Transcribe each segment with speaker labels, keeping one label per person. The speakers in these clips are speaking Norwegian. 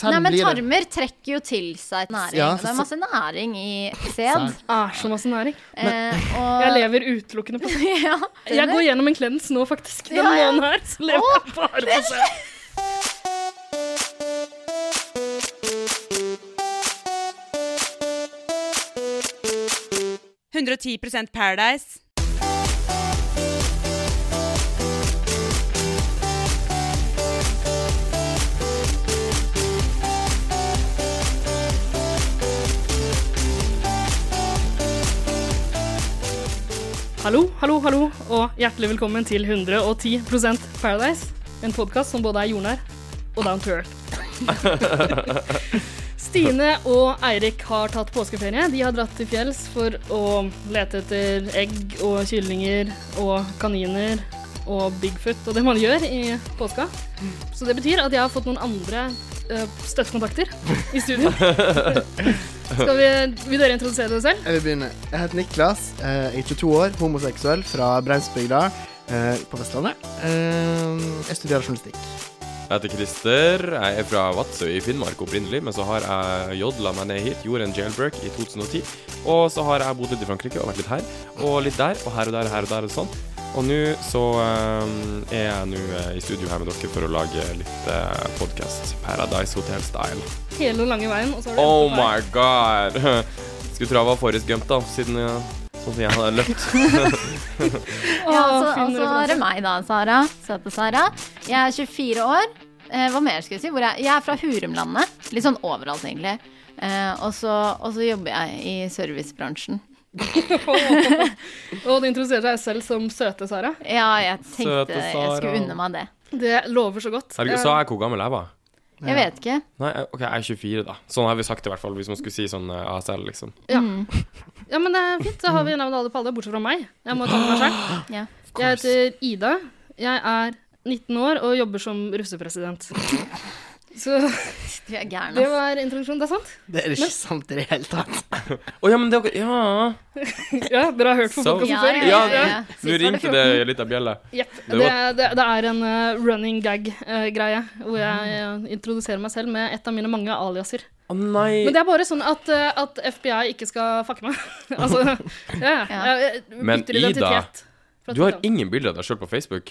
Speaker 1: Nei,
Speaker 2: Selv
Speaker 1: men
Speaker 2: blir det
Speaker 1: tarmer trekker jo til seg næring.
Speaker 2: Ja,
Speaker 1: det er masse næring i sæd.
Speaker 2: Sæd.
Speaker 3: Ah, så masse næring.
Speaker 1: Eh,
Speaker 3: Jeg
Speaker 1: og
Speaker 3: lever utelukkende på
Speaker 1: ja,
Speaker 3: Jeg går gjennom en klens nå, faktisk. Denne
Speaker 1: Ja, ja.
Speaker 3: måneden her. Så lever jeg bare på sæd.
Speaker 4: Paradise.
Speaker 3: Hallo, hallo, hallo, og hjertelig velkommen til 110 Paradise. En podkast som både er jordnær og down to earth. Stine og Eirik har tatt påskeferie. De har dratt til fjells for å lete etter egg og kyllinger og kaniner og Bigfoot og det man gjør i påska. Så det betyr at jeg har fått noen andre eh, støttekontakter i studio. Skal vi, vil dere introdusere dere selv?
Speaker 2: Jeg vil begynne. Jeg heter Niklas. eh, Jeg er 22 år, homoseksuell fra Breimsbygda eh, på Vestlandet. Eh, Jeg studerer journalistikk.
Speaker 5: Jeg heter Christer. Jeg er fra Vadsø i Finnmark opprinnelig, men så har jeg jodla meg ned hit, gjorde en jailbreak i 2010. Og så har jeg bodd litt i Frankrike og vært litt her og litt der og her og der og her og der og sånn. Og nå så eh, er jeg nå eh, i studio her med dere for å lage litt uh, podkast. Paradise Hotel Style.
Speaker 3: hele og lange veien. Og så har du
Speaker 5: Oh
Speaker 3: endt opp her.
Speaker 5: my god! Skulle tro jeg var Forrest Gump, da, siden eh, sånn som jeg hadde løpt.
Speaker 3: Å,
Speaker 1: ja, altså,
Speaker 3: fin
Speaker 1: og så er det
Speaker 3: referanse.
Speaker 1: meg, da, Sara. Søte Sara. Jeg er 24 år. Eh, hva mer skal jeg si? Hvor jeg, jeg er fra Hurumlandet. Litt sånn overalt, egentlig. Eh, og, så, og så jobber jeg i servicebransjen.
Speaker 3: Og du introduserer deg selv som søte Sara.
Speaker 1: Ja, jeg tenkte
Speaker 5: Søte
Speaker 1: jeg
Speaker 5: Sara.
Speaker 1: skulle unne meg det.
Speaker 3: Det lover så godt.
Speaker 5: Herregud, sa jeg hvor gammel jeg var?
Speaker 1: Jeg vet ikke.
Speaker 5: Nei, eh, OK, jeg er 24, da. Sånn har vi sagt det, i hvert fall, hvis man skulle si sånn eh, ASL, liksom.
Speaker 3: Eh, Ja, men det er fint. Da har vi navnet alle på alle, bortsett fra meg. Jeg må ta med meg selv.
Speaker 1: Ja.
Speaker 3: Jeg heter Ida. Jeg er 19 år og jobber som russepresident. Så
Speaker 1: Du er gæren,
Speaker 3: det
Speaker 1: ass.
Speaker 3: var introduksjonen. Det er sant?
Speaker 2: Det er ikke sant i det hele tatt.
Speaker 5: Å ja, men det er Ja.
Speaker 3: Ja, dere har hørt på
Speaker 5: Så-
Speaker 3: podkasten
Speaker 1: Ja,
Speaker 3: før?
Speaker 1: ja, ja.
Speaker 5: Ja,
Speaker 1: Sist
Speaker 5: Nå
Speaker 1: var det
Speaker 5: ringte
Speaker 1: 14.
Speaker 5: det ei lita bjelle.
Speaker 3: Jepp.
Speaker 5: Det
Speaker 3: Det, det, det er en eh, running gag-greie, hvor jeg eh, introduserer meg selv med et av mine mange aliaser.
Speaker 5: Å nei.
Speaker 3: Men det er bare sånn at, eh, at FBI ikke skal fucke meg. altså, ja, ja. jeg eh,
Speaker 5: Men
Speaker 3: bytter identitet. fra
Speaker 5: Du har
Speaker 3: Tyskland.
Speaker 5: ingen bilder av deg sjøl på Facebook.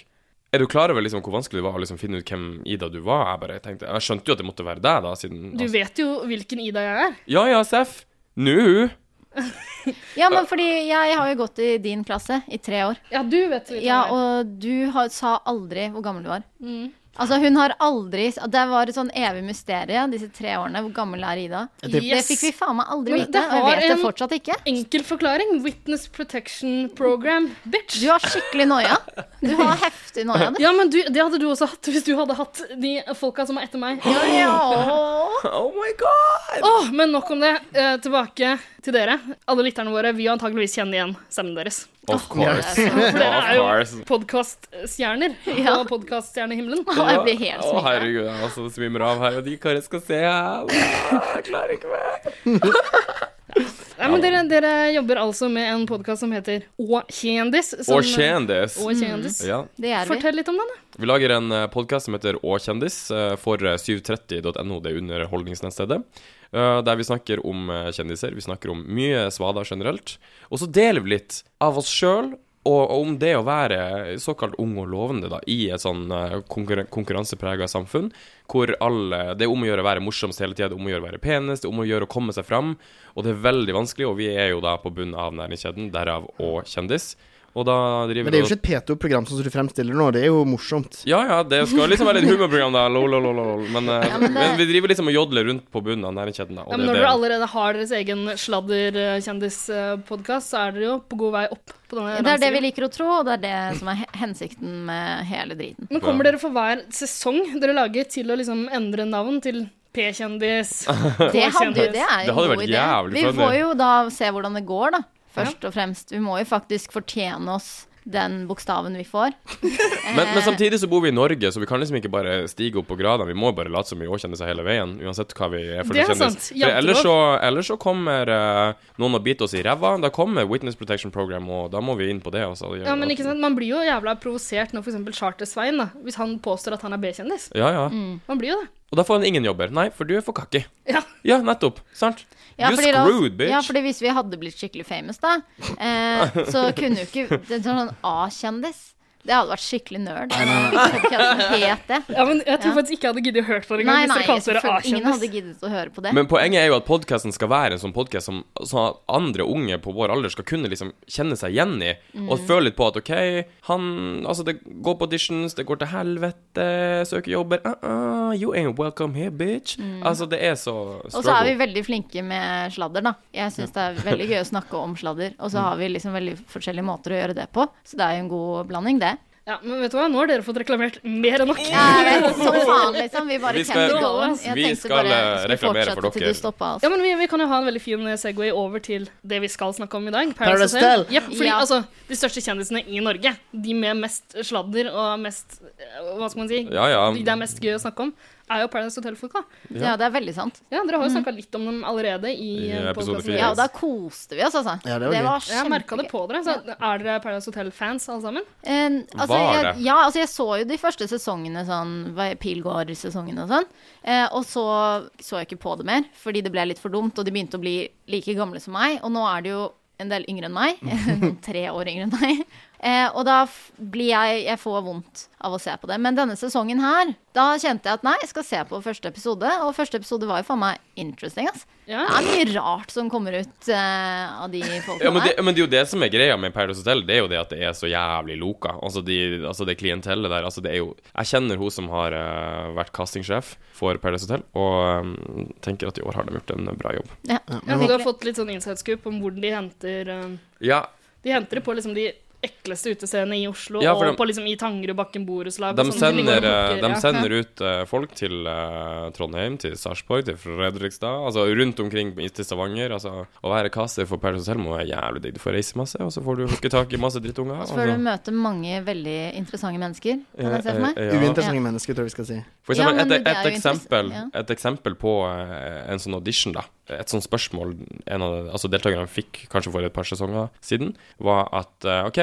Speaker 5: Er du klar over liksom hvor vanskelig det var å liksom finne ut hvem Ida du var? Jeg bare tenkte, jeg skjønte jo at det måtte være deg, da, siden altså-
Speaker 3: Du vet jo hvilken Ida jeg er.
Speaker 5: Ja ja, Seff. Nå.
Speaker 1: ja, men fordi jeg har jo gått i din klasse i tre år.
Speaker 3: Ja, du vet hvilken
Speaker 1: Ja,
Speaker 3: jeg er.
Speaker 1: og du har, sa aldri hvor gammel du var.
Speaker 3: Mm.
Speaker 1: Altså, hun har aldri Det var et sånn evig mysterium disse tre årene. Hvor gammel er Ida?
Speaker 2: Det-
Speaker 1: Det fikk vi faen meg aldri
Speaker 3: Men
Speaker 1: vite,
Speaker 3: det
Speaker 1: og jeg
Speaker 3: har
Speaker 1: vet det
Speaker 3: en-
Speaker 1: fortsatt ikke.
Speaker 3: Enkel forklaring. Witness Protection Program, bitch.
Speaker 1: Du har skikkelig noia. Du har heftig noia. Du.
Speaker 3: Ja, men du, Det hadde du også hatt hvis du hadde hatt de folka som er etter meg. Åh,
Speaker 5: Oh my god.
Speaker 3: Men nok om det. Eh, tilbake til dere. Alle lytterne våre vil antageligvis kjenne igjen stemmen deres.
Speaker 5: Of course.
Speaker 3: For dere
Speaker 5: Of
Speaker 3: er jo
Speaker 5: course.
Speaker 3: podkaststjerner på
Speaker 1: Ja.
Speaker 3: podkaststjernehimmelen.
Speaker 1: Å, jeg blir helt
Speaker 5: Å,
Speaker 1: smigra.
Speaker 5: herregud, jeg altså, svimmer av her, og de karene skal se her. Jeg klarer ikke mer.
Speaker 3: Nei, men dere, dere jobber altså med en podkast som heter Å kjendis. som-
Speaker 5: Og kjendis. Mm.
Speaker 3: Å kjendis.
Speaker 5: Ja.
Speaker 1: Det er vi.
Speaker 3: Fortell litt om den, da.
Speaker 5: Vi lager en podkast som heter Å kjendis eh, for eh, 730.no, det er underholdningsnettstedet. eh, Der vi snakker om eh, kjendiser. Vi snakker om mye svader generelt. Og så deler vi litt av oss sjøl, og og om det å være såkalt ung og lovende da, i et sånn eh, konkurren konkurranseprega samfunn, hvor alle, det er om å gjøre å være morsomst hele tida, det er om å gjøre å være penest, det er om å gjøre å komme seg fram. Og det er veldig vanskelig, og vi er jo da på bunnen av næringskjeden, derav Å kjendis. Og da driver
Speaker 2: Men det er
Speaker 5: vi
Speaker 2: jo ikke et P2-program sånn som du fremstiller nå. Det er jo morsomt.
Speaker 5: ja, ja, det skal liksom være et humorprogram, da. Lol, lol, lol, lol. Men, eh,
Speaker 1: men
Speaker 5: men,
Speaker 1: det-
Speaker 5: vi driver liksom og jodler rundt på bunnen av næringskjeden, da. Og
Speaker 3: Ja,
Speaker 5: det
Speaker 3: men når
Speaker 5: er det-
Speaker 3: dere allerede har deres egen sladder-kjendispodkast, så er dere jo på god vei opp på denne
Speaker 1: Det er det vi
Speaker 3: rangstigen.
Speaker 1: liker å tro, og det er det som er he- hensikten med hele driten.
Speaker 3: Men kommer dere for hver sesong dere lager, til å liksom endre navn til P-kjendis?
Speaker 1: Det, hadde, jo-
Speaker 3: kjendis.
Speaker 1: det er
Speaker 5: Det
Speaker 1: jo
Speaker 5: hadde
Speaker 1: en god
Speaker 5: vært
Speaker 1: idé.
Speaker 5: jævlig
Speaker 1: Vi
Speaker 5: funny.
Speaker 1: får jo da se hvordan det går, da. Først og fremst. Vi må jo faktisk fortjene oss den bokstaven vi får.
Speaker 5: Men, men samtidig så bor vi i Norge, så vi kan liksom ikke bare stige opp på gradene. Vi må bare late som vi er kjendiser hele veien, uansett hva vi er for
Speaker 3: Det
Speaker 5: en
Speaker 3: er sant.
Speaker 5: kjendis. For
Speaker 3: Jantelov.
Speaker 5: ellers så, ellers så kommer eh, noen og biter oss i ræva. Da kommer Witness Protection Program, og da må vi inn på det. Også.
Speaker 3: Ja, men ikke sant? Man blir jo jævla provosert når f.eks. Charter-Svein, da, hvis han påstår at han er B-kjendis.
Speaker 5: Ja, ja.
Speaker 3: Man blir jo det.
Speaker 5: Og da får han ingen jobber. Nei, for du er for kakki.
Speaker 3: Mm. Ja.
Speaker 5: Ja, nettopp. Sant?
Speaker 1: Ja,
Speaker 5: You're
Speaker 1: fordi da-
Speaker 5: screwed, bitch.
Speaker 1: Ja, fordi hvis vi hadde blitt skikkelig famous, da, eh, så kunne jo ikke det er sånn A-kjendis Det hadde vært skikkelig nerd. Podcasten het det.
Speaker 3: Ja, men jeg tror
Speaker 1: Ja.
Speaker 3: faktisk ikke jeg hadde giddet å hørt på det engang.
Speaker 1: Nei,
Speaker 3: hvis
Speaker 1: nei,
Speaker 3: dere kalte dere
Speaker 1: selvfølgelig, ingen hadde
Speaker 3: A-kjendis.
Speaker 1: giddet å høre på det.
Speaker 5: Men poenget er jo at podkasten skal være en sånn podkast som sånn at andre unge på vår alder skal kunne liksom kjenne seg igjen i,
Speaker 1: Mm.
Speaker 5: og føle litt på at OK, han Altså, det går på auditions, det går til helvete, søker jobber uh -uh, You ain't welcome here, bitch. Altså, det er så
Speaker 1: Mm. Og så er vi
Speaker 5: struggle.
Speaker 1: veldig flinke med sladder, da. Jeg syns det er veldig gøy å snakke om sladder. Og så har vi liksom veldig forskjellige måter å gjøre det på, så det er jo en god blanding, det.
Speaker 3: Ja, men vet du hva, nå har dere fått reklamert mer enn nok.
Speaker 1: Jeg vet, som faen, liksom. Vi bare
Speaker 5: Vi skal-
Speaker 1: kept it going. Jeg
Speaker 5: vi
Speaker 1: tenkte
Speaker 5: skal,
Speaker 1: bare
Speaker 5: eh,
Speaker 1: skulle
Speaker 5: reklamere
Speaker 1: fortsette
Speaker 5: for
Speaker 1: til du
Speaker 5: dere.
Speaker 1: stoppet oss.
Speaker 3: Ja, men vi, vi kan jo ha en veldig fin eh, Segway over til det vi skal snakke om i dag.
Speaker 2: Paradise
Speaker 3: Hotel.
Speaker 2: Hotel.
Speaker 3: Jepp, fordi
Speaker 1: Ja.
Speaker 3: altså, de største kjendisene i Norge, de med mest sladder og mest eh, Hva skal man si?
Speaker 5: Ja, ja.
Speaker 3: De det er mest gøy å snakke om, er jo Paradise Hotel-folk, da.
Speaker 1: Ja, det er veldig sant.
Speaker 3: Ja, dere har jo snakka litt om dem allerede i,
Speaker 5: I
Speaker 3: eh,
Speaker 5: episode
Speaker 3: podcasten.
Speaker 1: Mm.
Speaker 5: fire.
Speaker 1: Ja, og da koste vi oss, altså.
Speaker 2: Ja, det var gøy.
Speaker 1: var
Speaker 3: Jeg merka det
Speaker 1: kjempegøy.
Speaker 3: på dere. Så er dere Paradise Hotel-fans, alle sammen?
Speaker 1: Eh, altså,
Speaker 5: Var
Speaker 1: jeg,
Speaker 5: det?
Speaker 1: ja, altså jeg så jo de første sesongene, sånn hva- Pilgård-sesongene og sånn. Eh, og så så jeg ikke på det mer, fordi det ble litt for dumt, og de begynte å bli like gamle som meg. Og nå er de jo en del yngre enn meg. noen Tre år yngre enn meg. Eh, og da f- blir jeg Jeg får vondt av å se på det. Men denne sesongen her, da kjente jeg at nei, jeg skal se på første episode. Og første episode var jo faen meg interesting, ass.
Speaker 3: Ja.
Speaker 1: Det er mye rart som kommer ut eh, av de folkene
Speaker 5: Ja, men
Speaker 1: der.
Speaker 5: det, men det er jo det som er greia med Paradise Hotel, det er jo det at det er så jævlig loka. Altså, de, altså det klientellet der, altså det er jo Jeg kjenner hun som har eh, vært castingsjef for Paradise Hotel, og eh, tenker at i år har de gjort en bra jobb.
Speaker 1: Ja.
Speaker 3: Ja, så du har fått litt sånn inside-scoop om hvordan de henter eh,
Speaker 5: Ja,
Speaker 3: De henter det på liksom de ekleste utestedene i Oslo
Speaker 5: Ja, for
Speaker 3: og
Speaker 5: de-
Speaker 3: på liksom i Tangerudbakken borettslag. og
Speaker 5: De
Speaker 3: sånn.
Speaker 5: sender,
Speaker 3: ligger og
Speaker 5: eh,
Speaker 3: plukker,
Speaker 5: de
Speaker 3: ja.
Speaker 5: sender ut eh, folk til eh, Trondheim, til Sarpsborg, til Fredrikstad. Altså rundt omkring i- til Stavanger. Altså, å være caster for Paradise Hotel må være jævlig digg. Du får reise masse, og så får du hooke tak i masse drittunger. altså.
Speaker 1: Så får du møte mange veldig interessante mennesker. Kan jeg se for meg?
Speaker 2: Uinteressante mennesker, tror jeg vi skal si.
Speaker 5: For
Speaker 1: Ja,
Speaker 5: eksempel,
Speaker 1: men det
Speaker 5: et,
Speaker 1: er
Speaker 5: et,
Speaker 1: jo
Speaker 5: eksempel,
Speaker 1: interess-
Speaker 5: et eksempel på eh, en sånn audition, da. Et sånt spørsmål en av altså deltakerne fikk kanskje for et par sesonger siden, var at eh, OK,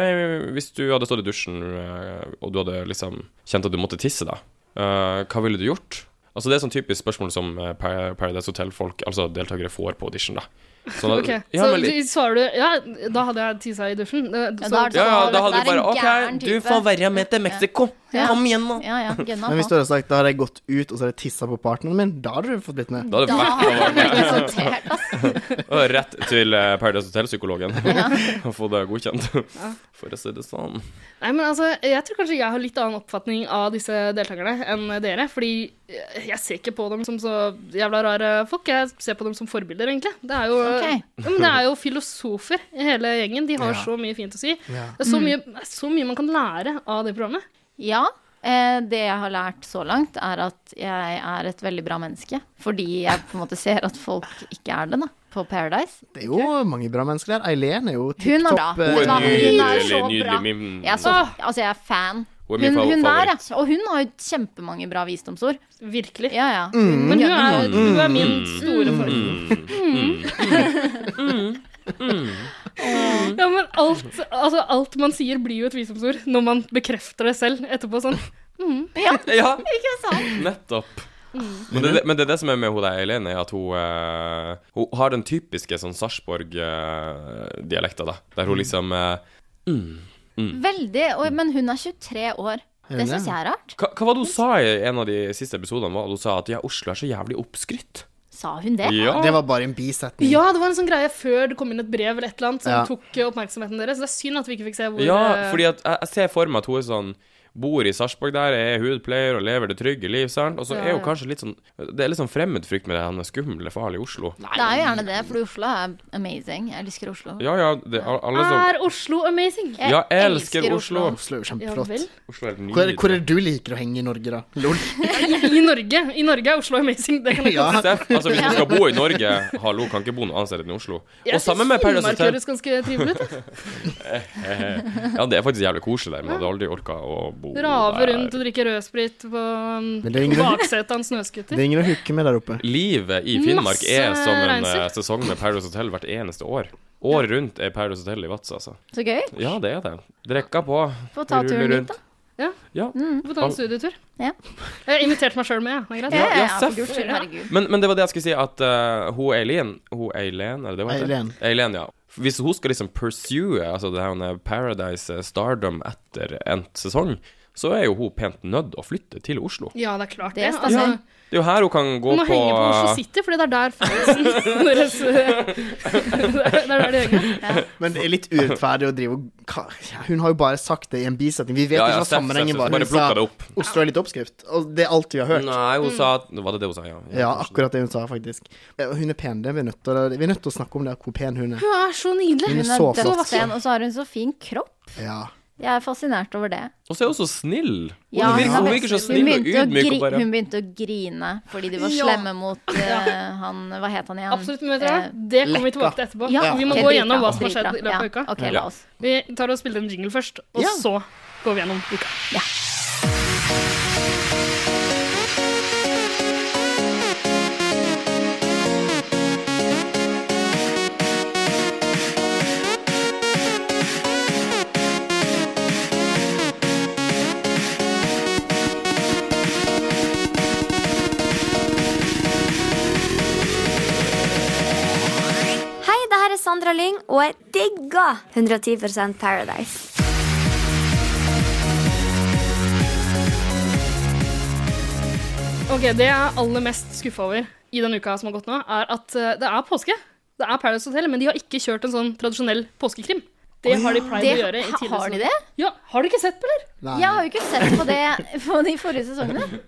Speaker 5: hvis du hadde stått i dusjen eh, og du hadde liksom kjent at du måtte tisse, da, eh, hva ville du gjort? Altså Det er sånn typisk spørsmål som eh, Par- Paradise Hotel-folk, altså deltakere, får på audition, da. Sånn at-
Speaker 3: Ok,
Speaker 5: ja,
Speaker 3: Så
Speaker 5: men litt-
Speaker 3: du- svarer du Ja, da hadde jeg tisa i dusjen. Det-
Speaker 1: Ja,
Speaker 3: så-
Speaker 1: da er det
Speaker 5: ja, ja,
Speaker 1: sånn,
Speaker 5: da hadde
Speaker 1: det
Speaker 5: du
Speaker 1: er en
Speaker 5: bare OK,
Speaker 1: gæren
Speaker 5: du
Speaker 1: type.
Speaker 5: får være med til Mexico.
Speaker 1: Ja.
Speaker 5: Kom igjen, nå.
Speaker 1: Ja, ja, gønna
Speaker 2: Men hvis du
Speaker 1: på.
Speaker 2: hadde sagt da hadde jeg gått ut, og så hadde jeg tissa på partneren min, da hadde du fått blitt med.
Speaker 5: Da
Speaker 1: Da
Speaker 5: hadde det vært
Speaker 1: har du ikke sortert, ass.
Speaker 5: Og rett til eh, Paradise Hotel-psykologen og få det godkjent. For å si det sånn.
Speaker 3: Nei, men altså, jeg tror kanskje jeg har litt annen oppfatning av disse deltakerne enn dere. Fordi eh, jeg ser ikke på dem som så jævla rare folk. Jeg ser på dem som forbilder, egentlig. Det er jo,
Speaker 1: Ok.
Speaker 3: ja, men det er jo filosofer, i hele gjengen. De har
Speaker 2: Ja.
Speaker 3: så mye fint å si. Det
Speaker 2: Ja.
Speaker 3: er
Speaker 1: Mm.
Speaker 3: så mye, det er så mye man kan lære av det programmet.
Speaker 1: Ja. Eh, det jeg har lært så langt, er at jeg er et veldig bra menneske. Fordi jeg på en måte ser at folk ikke er det, da. På Paradise.
Speaker 2: Det er jo mange bra mennesker der. Eileen er jo
Speaker 1: Hun er
Speaker 2: tipp
Speaker 1: bra.
Speaker 2: topp. eh,
Speaker 1: Hun er nydelig.
Speaker 5: min
Speaker 1: Jeg er, så, altså, jeg er fan.
Speaker 5: Hun
Speaker 1: Hun,
Speaker 5: er min
Speaker 1: hun der, ja.
Speaker 5: favoritt.
Speaker 1: Og hun har jo kjempemange bra visdomsord.
Speaker 3: Virkelig.
Speaker 1: Ja, ja.
Speaker 3: Men du
Speaker 1: Ja,
Speaker 3: er, du er min store forbilde. Mm. Ja, men alt, altså, alt man sier blir jo et visdomsord når man bekrefter det selv etterpå sånn.
Speaker 5: Ja,
Speaker 1: Ikke sant? Mm.
Speaker 5: nettopp. Men det, men det er det som er med hun der Eileen, er at hun, eh, hun har den typiske sånn Sarpsborg-dialekta, da. Der
Speaker 1: Mm.
Speaker 5: hun liksom eh,
Speaker 1: Veldig. Og, men hun er 23 år. Det
Speaker 2: Hun er-
Speaker 1: syns jeg er rart.
Speaker 5: hva, hva var det hun sa i en av de siste episodene? var det Hun sa at ja, Oslo er så jævlig oppskrytt.
Speaker 1: Sa hun det?
Speaker 5: Ja.
Speaker 2: Det var bare en bisetning.
Speaker 3: Ja, det var en sånn greie før det kom inn et brev eller et eller annet som
Speaker 2: Ja.
Speaker 3: tok eh, oppmerksomheten deres. Det er synd at vi ikke fikk se hvor
Speaker 5: Ja,
Speaker 3: eh,
Speaker 5: fordi at jeg, jeg ser for meg at hun er sånn bor i Sarpsborg der, er hudpleier og lever det trygge liv, sant? Og så
Speaker 3: Ja,
Speaker 5: er jo
Speaker 3: ja.
Speaker 5: kanskje litt sånn Det er litt sånn fremmedfrykt med det han er skummel farlig i Oslo.
Speaker 1: Det er jo gjerne det, for Oslo er amazing. Jeg elsker Oslo.
Speaker 5: Ja, ja, det, al- alle som
Speaker 3: Er Oslo amazing?
Speaker 1: Jeg
Speaker 5: Ja, elsker Oslo.
Speaker 2: Oslo er jo
Speaker 3: Ja
Speaker 2: kjempeflott.
Speaker 3: vel.
Speaker 5: Oslo er helt
Speaker 2: Hvor er, hvor er det
Speaker 5: nydelig.
Speaker 2: du liker å henge i Norge, da? Lol.
Speaker 3: I Norge. I Norge er Oslo amazing. Det kan jeg
Speaker 2: Ja.
Speaker 5: Steff, altså hvis du skal bo i Norge, hallo, kan ikke bo noe annet sted enn i Oslo. Og
Speaker 3: Jeg
Speaker 5: sammen med Paradise
Speaker 3: Finnmark
Speaker 5: Hotel.
Speaker 3: høres ganske trivelig ut. da.
Speaker 5: Ja, det er faktisk jævlig koselig der, men jeg hadde aldri orka å bo
Speaker 3: Rave
Speaker 5: der.
Speaker 3: rundt og drikke rødsprit på um,
Speaker 2: Men det er ingen-
Speaker 3: baksetet av en
Speaker 2: Det
Speaker 3: snøscooter.
Speaker 2: er ingen å hooke med der oppe.
Speaker 5: Livet i Finnmark er
Speaker 3: Masse
Speaker 5: som en
Speaker 3: reinsdyr.
Speaker 5: eh, sesong med Paradise Hotel hvert eneste år. Året rundt er Paradise Hotel i Vadsø, altså.
Speaker 1: Så gøy.
Speaker 5: Ja, det er det. Drekka på.
Speaker 1: Få ta
Speaker 5: rulle
Speaker 1: turen
Speaker 5: rundt.
Speaker 1: dit, da.
Speaker 5: Ja.
Speaker 3: Få ta en studietur.
Speaker 1: Ja.
Speaker 3: Jeg har invitert meg sjøl med, jeg. Det er greit.
Speaker 5: Ja, ja,
Speaker 1: for
Speaker 5: seff.
Speaker 1: guds skyld, herregud.
Speaker 5: Men, men det var det jeg skulle si, at eh, hun Eileen Hun Eileen, er det det hun heter?
Speaker 2: Eileen.
Speaker 5: ja. Hvis hun skal liksom pursue altså det her med Paradise eh, Stardom etter endt sesong, så er jo hun pent nødt å flytte til Oslo.
Speaker 3: Ja, det er klart
Speaker 1: Det
Speaker 3: det.
Speaker 1: er
Speaker 3: Altså,
Speaker 1: stasjon.
Speaker 5: Det er jo her hun kan gå
Speaker 3: Du må
Speaker 5: på
Speaker 3: henge på Oslo City, fordi det er der fansen deres eh, Det er der de henger.
Speaker 2: Men det er litt urettferdig å drive og Hva- ja, Hun har jo bare sagt det i en bisetning. Vi vet
Speaker 5: Ja, ja,
Speaker 2: ikke hva
Speaker 5: Steff,
Speaker 2: sammenhengen
Speaker 5: Steff,
Speaker 2: var. Hun
Speaker 5: bare
Speaker 2: sa
Speaker 5: plukka det opp.
Speaker 2: Oslo er litt oppskrift, og det er alt vi har hørt.
Speaker 5: Nei, hun sa at Var det det hun sa, ja?
Speaker 2: Ja, akkurat det hun sa, faktisk. Eh, Hun er pen, det er vi nødt til å Vi er nødt til å snakke om det, hvor pen hun er.
Speaker 3: Hun er så nydelig.
Speaker 2: Hun er
Speaker 1: Hun er
Speaker 2: så flott.
Speaker 1: dødspen, og så har hun så fin kropp.
Speaker 2: Ja.
Speaker 1: Jeg er fascinert over det.
Speaker 5: Og så er hun så snill. Hun,
Speaker 1: Ja, hun er
Speaker 5: virker, hun
Speaker 1: veldig
Speaker 5: virker så
Speaker 1: Hun
Speaker 5: snill og
Speaker 1: begynte, å
Speaker 5: ydmyk
Speaker 1: gri
Speaker 5: og bare
Speaker 1: hun begynte å grine fordi de var
Speaker 3: Ja.
Speaker 1: slemme mot eh, han Hva het han igjen? Eh,
Speaker 3: Absolutt. Men vet dere, hva? det kommer vi tilbake til etterpå.
Speaker 1: Ja,
Speaker 3: Vi
Speaker 1: ok,
Speaker 3: må gå
Speaker 1: dritbra,
Speaker 3: gjennom hva som har skjedd
Speaker 1: dritbra.
Speaker 3: i løpet av uka.
Speaker 1: Ja, ok,
Speaker 5: Ja.
Speaker 1: la oss.
Speaker 3: Vi tar og spiller en jingle først, og
Speaker 2: Ja.
Speaker 3: så går vi gjennom uka.
Speaker 1: Ja.
Speaker 6: Hei, det her er Sandra Lyng, og jeg digger 110 Paradise.
Speaker 3: Ok, Det jeg er aller mest skuffa over i den uka som har gått nå, er at eh, det er påske. Det er Paradise Hotel, men de har ikke kjørt en sånn tradisjonell påskekrim. Det har de pleid
Speaker 1: Det,
Speaker 3: å gjøre. i
Speaker 1: ha-
Speaker 3: tidligere
Speaker 1: har de
Speaker 3: sesonger.
Speaker 1: det?
Speaker 3: Ja, Har du ikke sett på, eller?
Speaker 2: Nei.
Speaker 1: Jeg har jo ikke sett på det på de forrige sesongene.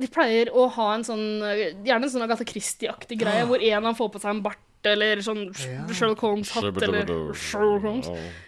Speaker 3: De pleier å ha en sånn eh, Gjerne en sånn Agatha Christie-aktig greie, hvor en av dem får på seg en bart. Eller sånn Sherlock Holmes-hatt. Eller Sherlock Holmes.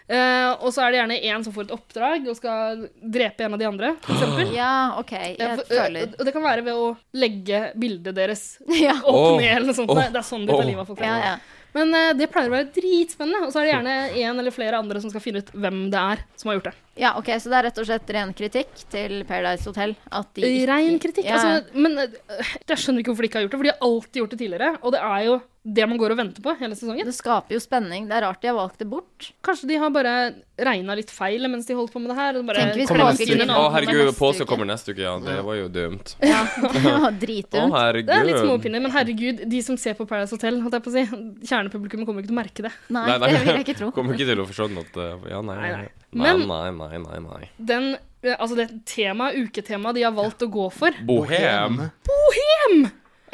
Speaker 3: Eh, og så er det gjerne en som får et oppdrag og skal drepe en av de andre. For eksempel.
Speaker 1: Ja, OK.
Speaker 3: Ja,
Speaker 1: Jeg
Speaker 3: for-
Speaker 1: føler
Speaker 3: Og det kan være ved å legge bildet deres
Speaker 1: Ja.
Speaker 3: opp
Speaker 5: Åh,
Speaker 3: ned eller noe sånt.
Speaker 5: åh,
Speaker 3: Det- det er sånn de tar
Speaker 5: åh.
Speaker 3: livet av folk.
Speaker 1: Ja, ja.
Speaker 3: Men eh, det pleier å være dritspennende, og så er det gjerne en eller flere andre som skal finne ut hvem det er som har gjort det.
Speaker 1: ja, OK, så det er rett og slett ren kritikk til Paradise Hotel? At de ikke-
Speaker 3: Rein kritikk.
Speaker 1: Ja, ja.
Speaker 3: Altså, men eh, jeg skjønner ikke hvorfor de ikke har gjort det, for de har alltid gjort det tidligere, og det er jo det man går og venter på hele sesongen.
Speaker 1: Det skaper jo spenning. Det er rart de har valgt det bort.
Speaker 3: Kanskje de har bare regna litt feil mens de holdt på med det her. Og bare,
Speaker 1: Tenk hvis
Speaker 3: Kommer
Speaker 1: påske
Speaker 3: neste uke.
Speaker 1: kunne
Speaker 5: Å, herregud,
Speaker 1: neste
Speaker 5: påske
Speaker 1: uke.
Speaker 5: kommer neste uke, ja. Det var jo dumt.
Speaker 1: Ja.
Speaker 5: Å,
Speaker 1: Dritdumt.
Speaker 3: Det er litt
Speaker 5: herregud.
Speaker 3: småpinner, men herregud, de som ser på Paradise Hotel, holdt jeg på å si, kjernepublikummet kommer ikke til å merke det.
Speaker 1: Nei,
Speaker 5: Nei, nei.
Speaker 1: det vil jeg ikke tro.
Speaker 5: Kommer ikke til å skjønne at eh, Ja, nei,
Speaker 3: Nei,
Speaker 5: nei.
Speaker 3: nei.
Speaker 5: Nei,
Speaker 3: Men-
Speaker 5: nei, nei, nei, nei.
Speaker 3: den, eh, altså det temaet, uketemaet de har valgt å gå for.
Speaker 5: Bohem.